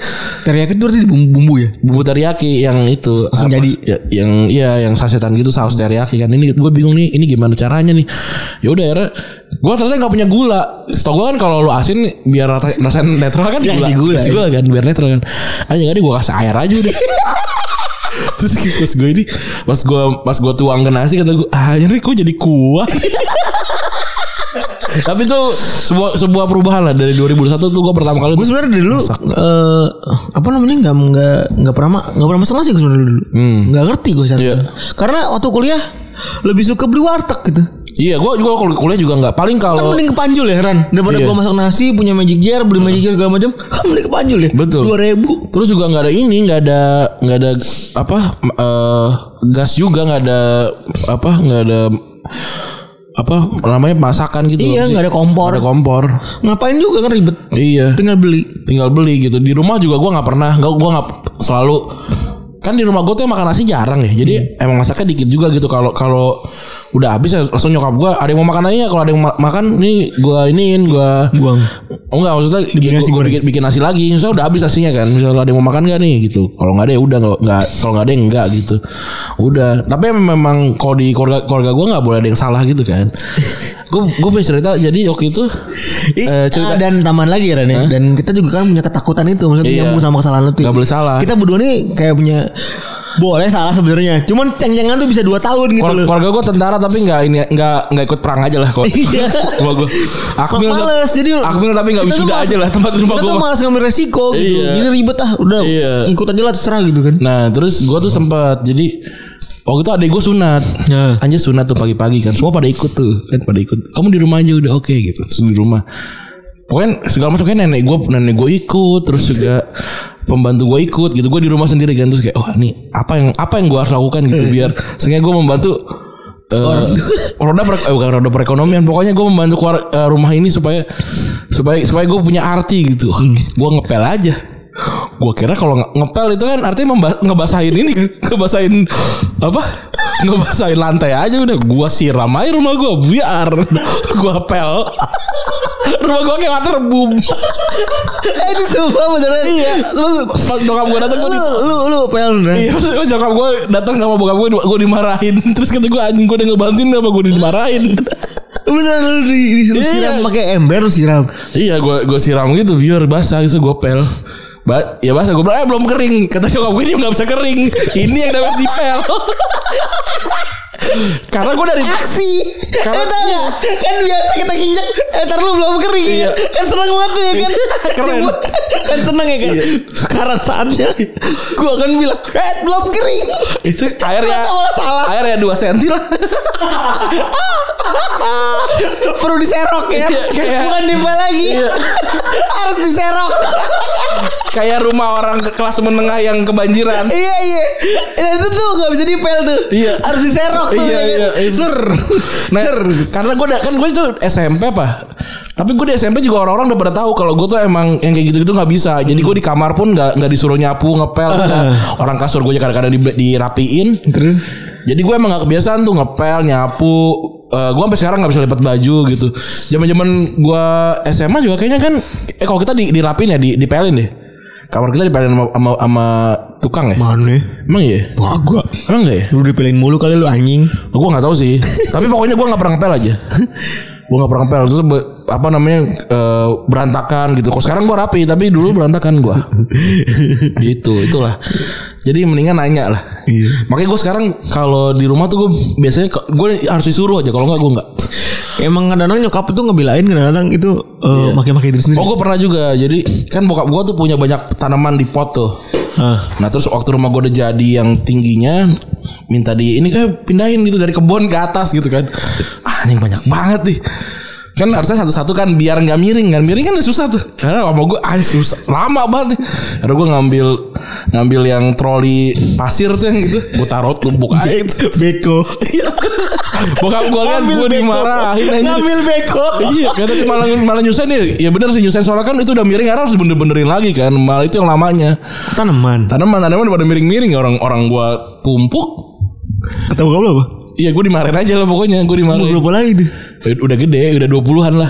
Teriyaki itu berarti bumbu-bumbu ya? bumbu teriyaki yang itu Langsung jadi. ya, yang iya yang sasetan gitu saus teriyaki kan ini gue bingung nih ini gimana caranya nih ya udah akhirnya gue ternyata nggak punya gula stok gue kan kalau lu asin biar rata- rasanya netral kan Dikasih gula, gula, Dikasih ya. gula kan biar netral kan aja nggak gue kasih air aja udah terus pas gue ini pas gue pas gue tuang ke nasi kata gue ah ini kok jadi kuah tapi itu sebuah sebuah perubahan lah dari 2001 tuh gue pertama kali Gue sebenarnya dari dulu eh, apa namanya nggak nggak nggak pernah ma- nggak pernah masak nasi gue sebenarnya dulu. Nggak ngerti gue sebenarnya. Hmm. Iya. Karena waktu kuliah lebih suka beli warteg gitu. Iya, gue juga kalau kuliah juga nggak. Paling Kan kalau mending ke Panjul ya Ran Daripada Oh. Iya. gua masak nasi Punya magic jar Beli magic jar segala macam Kan mending ke Panjul ya Betul. 2000 terus juga nggak ada ini, nggak ada nggak ada apa eh, gas juga nggak ada apa nggak ada apa namanya masakan gitu. Iya loh sih. nggak ada kompor Nggak ada kompor. Ngapain juga kan ribet Iya. Tinggal beli tinggal beli gitu di rumah juga gua nggak pernah nggak gua nggak selalu kan di rumah gue tuh makan nasi jarang ya Hmm. jadi emang masaknya dikit juga gitu kalau kalau udah habis ya langsung nyokap gue ada yang mau makan aja ya? kalau ada yang ma- makan ini gue iniin gue Buang. oh enggak maksudnya bikin nasi nasi goreng. bikin, bikin nasi lagi misalnya udah habis nasinya kan misalnya ada yang mau makan gak nih gitu kalau nggak ada ya udah nggak nggak- kalau nggak ada ya enggak gitu udah tapi memang kalau di keluarga keluarga gue nggak boleh ada yang salah gitu kan gue gue punya cerita jadi waktu itu Ih, eh, cerita ah, dan taman lagi Ran ya Dan kita juga kan punya ketakutan itu Maksudnya Iya. nyambung sama kesalahan itu Nggak boleh salah. Kita berdua nih kayak punya Boleh salah sebenarnya Cuman ceng-cengan tuh bisa 2 tahun gitu loh Keluarga, keluarga gue tentara tapi nggak ini nggak nggak ikut perang aja lah kalau Iya. keluarga gue. Akmil Males, tapi- jadi Akmil tapi nggak kita tuh wisuda malas- aja lah tempat rumah Kita gue. tuh malas ngambil resiko gitu Iya. Jadi ribet ah Udah Iya. ikut aja lah terserah gitu kan Nah terus gue tuh sempat jadi waktu itu adek gue sunat, Ya. anjir sunat tuh pagi-pagi kan semua pada ikut tuh kan pada ikut. Kamu di rumah aja udah oke gitu terus di rumah. Pokoknya segala macam kayak nenek gue nenek gue ikut terus juga pembantu gue ikut gitu gue di rumah sendiri kan terus kayak oh ini apa yang apa yang gue harus lakukan gitu biar sehingga gue membantu eh, roda per, eh, bukan roda perekonomian pokoknya gue membantu keluar, eh, rumah ini supaya supaya supaya gue punya arti gitu gue ngepel aja Gua kira kalau nge- ngepel itu kan artinya memba- ngebasahin ini kan. ngebasahin apa ngebasahin lantai aja udah gua siram aja rumah gua biar gua pel rumah gua kayak waterboom Eh ini sumpah beneran Iya terus pas nyokap gua datang gua Lu di lu lu pel beneran Iya, maksudnya nyokap gue datang sama bokap gue, gue dimarahin. Terus kata gue anjing gue udah ngebantuin apa gue dimarahin. Beneran lu di, di, lu Iya. siram pakai ember lu siram iya, gue gue siram gitu biar basah, gitu gue pel. Ba ya basah gue bilang eh belum kering kata nyokap gue ini nggak bisa kering ini yang dapat dipel karena gue dari Aksi Karena- Eh tau gak Kan biasa kita injek Eh ntar lu belum kering Iya. Kan seneng banget tuh ya kan Keren. Kan seneng ya kan Sekarang saatnya Gue akan bilang Eh belum kering itu airnya Ternyata malah salah. airnya dua senti lah Perlu diserok ya Iya, kayak- Bukan nempel lagi Iya. Harus diserok kayak rumah orang ke kelas menengah yang kebanjiran Iya iya Dan itu tuh gak bisa dipel tuh Iya. Harus diserok tuh Iya, ya kan? iya, iya. Ser Nah, Ser karena gue kan gue itu SMP apa? Tapi gue di SMP juga orang-orang udah pada tahu kalau gue tuh emang yang kayak gitu-gitu nggak bisa. Jadi gue di kamar pun nggak nggak disuruh nyapu, ngepel. nggak. Orang kasur gue kadang-kadang di, dirapiin. Terus Jadi gue emang gak kebiasaan tuh ngepel, nyapu. Eh, gue sampai sekarang gak bisa lipat baju gitu. Zaman-zaman gue SMA juga kayaknya kan eh kalau kita di, dirapin ya, di, dipelin deh. Kamar kita dipelin sama, sama, sama tukang ya. Mana Emang iya? Wah gue Emang enggak ya? Lu dipelin mulu kali lu anjing Oh, gue nggak tahu sih. Tapi pokoknya gue nggak pernah ngepel aja. gue nggak pernah ngepel. Terus be- apa namanya eh, berantakan gitu. Kok sekarang gue rapi, tapi dulu berantakan gue. gitu, itulah. Jadi mendingan nanya lah. Iya. Makanya gue sekarang kalau di rumah tuh gue biasanya gue harus disuruh aja. Kalau nggak gue nggak. Emang kadang-kadang nyokap itu ngebelain kadang-kadang itu eh, maki-maki diri sendiri. Oh gue pernah juga. Jadi kan bokap gue tuh punya banyak tanaman di pot tuh. Hah. Nah terus waktu rumah gue udah jadi yang tingginya minta di ini kayak pindahin gitu dari kebun ke atas gitu kan. Ah anjing banyak banget nih. Kan harusnya satu-satu kan biar nggak miring kan miring kan susah tuh. Karena sama gue ah susah lama banget. Nih. Karena gue ngambil ngambil yang troli pasir tuh yang gitu. Gue taruh tumpuk aja. itu. Ah, Beko. Bokap gue lihat Ngambil beko. gue dimarahin aja. Ngambil beko. Iya, karena malah malah nyusahin ya. Ya benar sih nyusahin soalnya kan itu udah miring karena harus bener-benerin lagi kan. Malah itu yang lamanya. Tanaman. Tanaman tanaman pada miring-miring orang orang gua tumpuk. Kata bokap lu apa? Iya gue dimarahin aja lah pokoknya Gue Mau dimarahin Eh, berapa lagi tuh? Udah gede Udah 20an lah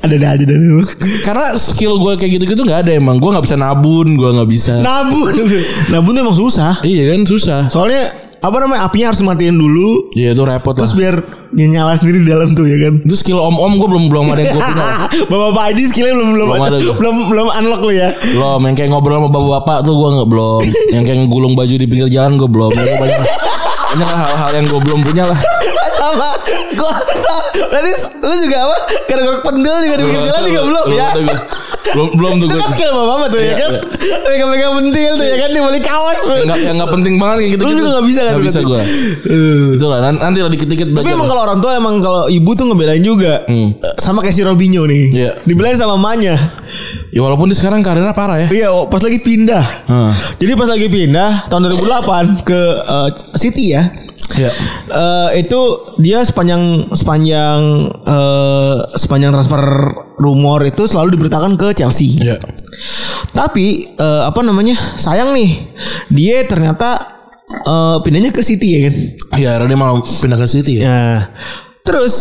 ada ada aja dari lu. Karena skill gue kayak gitu-gitu gak ada emang Gue gak bisa nabun Gue gak bisa Nabun. Nabun tuh emang susah. Iya kan susah Soalnya apa namanya apinya harus matiin dulu Iya itu repot terus lah biar nyala sendiri di dalam tuh ya kan. Itu skill om-om gue belum belum ada yang gue punya Bapak-bapak ID skillnya belum belum Belum ada gua. belum belum unlock lu ya. Belum Yang kayak ngobrol sama bapak-bapak tuh gue gak belum Yang kayak gulung baju di pinggir jalan gue belum Ya, gua Banyak banyak lah hal-hal yang gue belum punya lah sama gua sama berarti lu juga apa gara-gara pendel juga di pinggir jalan juga belum ya Udah gua- belum belum tuh Itu gue kan skill mama tuh ya Iya, kan. Megang-megang pentil tuh ya kan di balik kaos. nggak yang nggak penting banget kayak gitu Lu juga nggak bisa kan nggak bisa berarti? gue Eh. itulah nan- nanti lah dikit dikit Tapi emang kalau orang tua emang kalau ibu tuh ngebelain juga. Hmm. Eh, Sama kayak si Robinho nih. Iya. Dibelain sama mamanya. ya walaupun dia sekarang karirnya parah ya Iya, oh, pas lagi pindah. Heeh. Jadi pas lagi pindah tahun 2008 ke eh, City ya. ya Eh, itu dia sepanjang sepanjang eh, sepanjang transfer rumor itu selalu diberitakan ke Chelsea. ya Tapi eh, apa namanya? Sayang nih. Dia ternyata eh, pindahnya ke City ya kan. ya akhirnya dia malah pindah ke City ya Nah, terus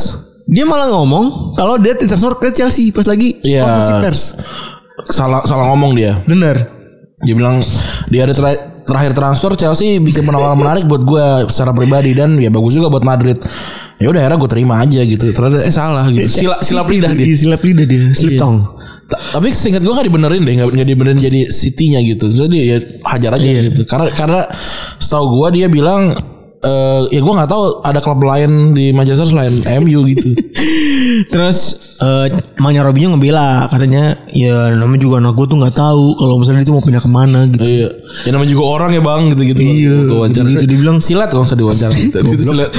dia malah ngomong kalau dia transfer ke Chelsea pas lagi Iya. konversi pers. salah salah ngomong dia Bener. dia bilang dia ada tera- terakhir transfer Chelsea bikin penawaran menarik buat gue secara pribadi dan ya bagus juga buat Madrid ya udah akhirnya gue terima aja gitu ternyata eh salah gitu sila silap lidah dia Iya, Silap lidah dia, slip Iya. tong. Ta- tapi singkat gue gak dibenerin deh nggak nggak dibenerin jadi City-nya gitu jadi ya hajar aja gitu karena karena setahu gue dia bilang eh ya gue nggak tahu ada klub lain di Manchester selain MU gitu Terus eh Manya Robinho ngebela katanya ya namanya juga anak gue tuh nggak tahu kalau misalnya dia tuh mau pindah kemana gitu. iya ya namanya juga orang ya bang gitu gitu Iya, wawancara gitu-gitu. gitu, Dia bilang, dibilang silat kalau nggak diwawancara gitu, silat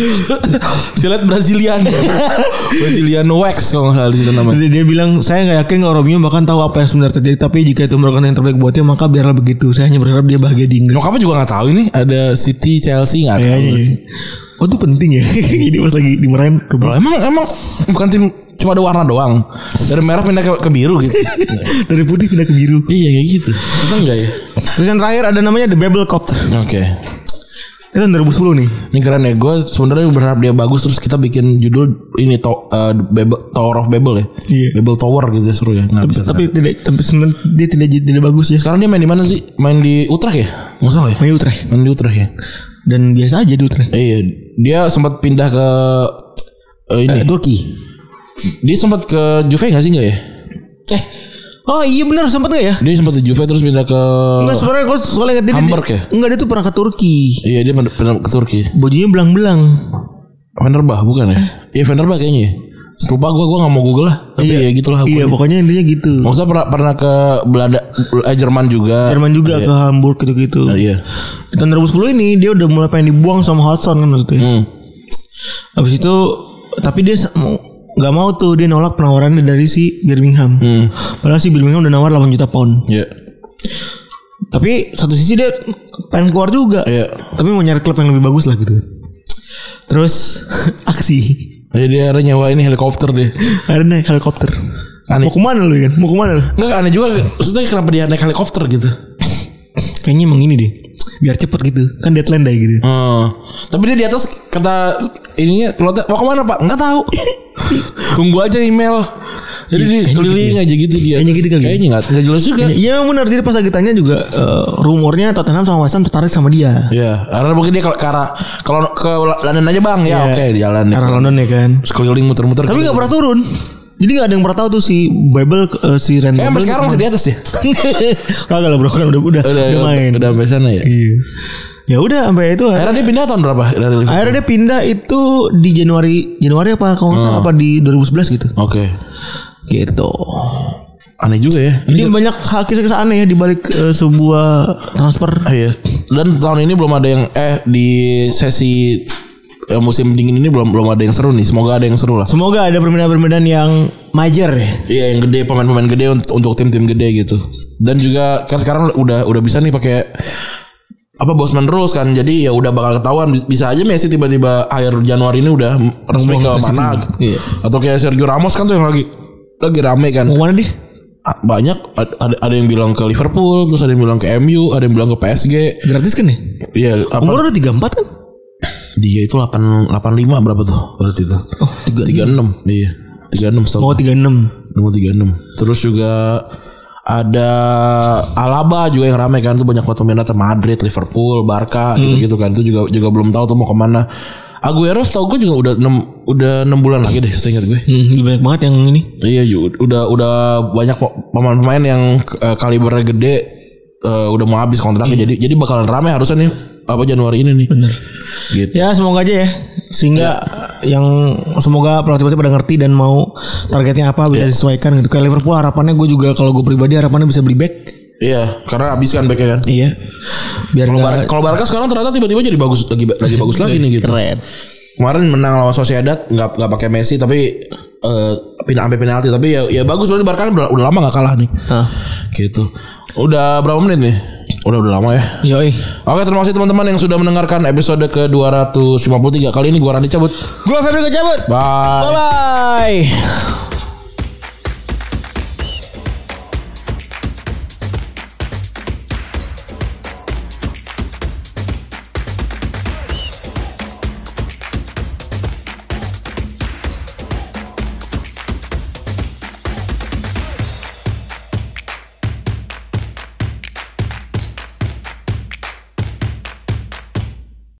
silat Brazilian Brazilian wax kalau nggak salah di situ namanya Jadi dia bilang saya nggak yakin kalau Robinho bahkan tahu apa yang sebenarnya terjadi tapi jika itu merupakan yang terbaik buatnya maka biarlah begitu. Saya hanya berharap dia bahagia di Inggris. nyokapnya juga nggak tahu ini ada City Chelsea nggak tahu Kayaknya. ya. Oh itu penting ya. Jadi pas lagi dimarahin ke Loh, emang emang bukan tim cuma ada warna doang dari merah pindah ke, ke biru gitu dari putih pindah ke biru. iya kayak gitu kita enggak ya Terus yang terakhir ada namanya The Babel Copter. oke Itu tahun 2010 nih. ini keren ya gue sebenarnya berharap dia bagus terus kita bikin judul ini to, eh, Babel- Tower of Babel ya Iya. Babel Tower gitu ya, seru ya Nggak bisa Tapi tidak tapi sebenarnya dia tidak jadi- tidak bagus ya. sekarang dia main di mana sih main di Utrecht ya nggak salah ya Main Utrecht main di Utrecht ya dan biasa aja di Utrecht. Eh, iya dia sempat pindah ke eh, Eh, ini Turki. dia sempat ke Juve nggak sih nggak ya Eh. Oh iya benar sempat gak ya? dia sempat ke Juve terus pindah ke Enggak sebenarnya gue soalnya ingat dia Hamburg ya? Enggak dia tuh pernah ke Turki. iya dia pindah- pindah ke Turki Bajunya belang-belang. Venerbah bukan ya? Eh. Iya Venerbah kayaknya. ya. Lupa gue gue nggak mau google lah. Tapi ya gitulah. Iya pokoknya. pokoknya intinya gitu. Maksudnya pernah pernah ke Belanda, eh, Jerman juga. Jerman juga ke Hamburg gitu-gitu. Nah, iya. Di tahun 2010 ini dia udah mulai pengen dibuang sama Hudson kan maksudnya. Hmm. Habis itu tapi dia se- mau nggak mau tuh dia nolak penawarannya dari si Birmingham. Hmm. Padahal si Birmingham udah nawar 8 juta pound. Iya. Tapi satu sisi dia pengen keluar juga. Iya. Tapi mau nyari klub yang lebih bagus lah gitu. Terus aksi. Jadi dia akhirnya nyewa ini helikopter deh. Akhirnya naik helikopter. Mau Aneh. kemana lu kan? Mau kemana lu? Enggak aneh juga. Maksudnya kenapa dia naik helikopter gitu? Kayaknya emang ini deh. Biar cepet gitu. Kan deadline day gitu. Hmm. Tapi dia di atas kata ininya pilotnya mau kemana pak? Nggak tahu. Tunggu aja email. Jadi dia kayaknya keliling gitu ya. aja gitu dia. Kayaknya gitu kali ya. Kayaknya nggak nggak jelas juga. Iya emang benar. Jadi pas lagi tanya juga eh, rumornya Tottenham sama West Ham tertarik sama dia. Iya, karena mungkin dia kalau ke arah kalau ke London aja bang, ya oke di jalan. Iya. Karena London ya kan. Terus keliling muter-muter. gitu. Tapi nggak pernah turun. Jadi nggak ada yang pernah tahu tuh si Bible eh, si Ren. Kayak sampai Bible sekarang kemana. masih di atas ya. Kagak lah bro kan udah udah, udah, main. Udah sampai sana ya. Iya. Ya udah sampai itu. Akhirnya dia pindah tahun berapa dari Liverpool? Akhirnya dia pindah itu di Januari Januari apa kalau nggak salah Hmm. apa di 2011 gitu. Oke. Gitu. Aneh juga ya. Jadi Ini banyak hal kisah-kisah aneh ya di balik eh, sebuah transfer. Ah, iya. Dan tahun ini belum ada yang eh di sesi eh, musim dingin ini belum belum ada yang seru nih. Semoga ada yang seru lah. Semoga ada permintaan-permintaan yang major ya. Iya yang gede pemain-pemain gede untuk, untuk tim-tim gede gitu. Dan juga kan sekarang udah udah bisa nih pakai apa Bosman rules kan. Jadi ya udah bakal ketahuan Bis- bisa aja Messi tiba-tiba akhir Januari ini udah resmi ke Ngomong ke mana City. gitu. Atau kayak Sergio Ramos kan tuh yang lagi lagi rame kan. Mau mana deh? A- Banyak ad- ada, ada yang bilang ke Liverpool, terus ada yang bilang ke MU, ada yang bilang ke PSG. Gratis kan ya? Iya, apa Umur udah 34 kan? dia itu 8 85 berapa tuh? Berarti itu. Oh, 36. 36. Iya. 36 setahu Mau 36. nomor 36 terus juga ada Alaba juga yang ramai kan tuh banyak banget peminat sama Madrid, Liverpool, Barca Hmm. gitu-gitu kan itu juga juga belum tahu tuh mau kemana. Aguero setahu gue juga udah 6 udah 6 bulan lagi deh seingat gue. Hmm, lebih banyak banget yang ini. Iya Yu. udah udah banyak po- pemain-pemain yang eh, kalibernya gede eh, udah mau habis kontraknya jadi jadi bakalan ramai harusnya nih apa Januari ini nih. Bener. Gitu. Ya semoga aja ya sehingga yang semoga pelatih-pelatih pada ngerti dan mau targetnya apa bisa disesuaikan gitu. Kayak Liverpool harapannya gue juga kalau gue pribadi harapannya bisa beli back. Iya, karena habis kan backnya kan. Iya. Biar Kalau Bar- nggak Kalau Barca sekarang ternyata tiba-tiba jadi bagus lagi lagi bagus lagi nih gitu. Iya. keren. Kemarin menang lawan Sociedad nggak nggak pakai Messi tapi eh pin- sampai penalti tapi ya ya bagus berarti Barca kan udah, udah lama nggak kalah nih. Gitu. Udah berapa menit nih? Udah udah lama ya. Yoi. Oke, terima kasih teman-teman yang sudah mendengarkan episode ke-253. Kali ini gua Randy cabut. Gue Febri kecabut. Bye. Bye bye.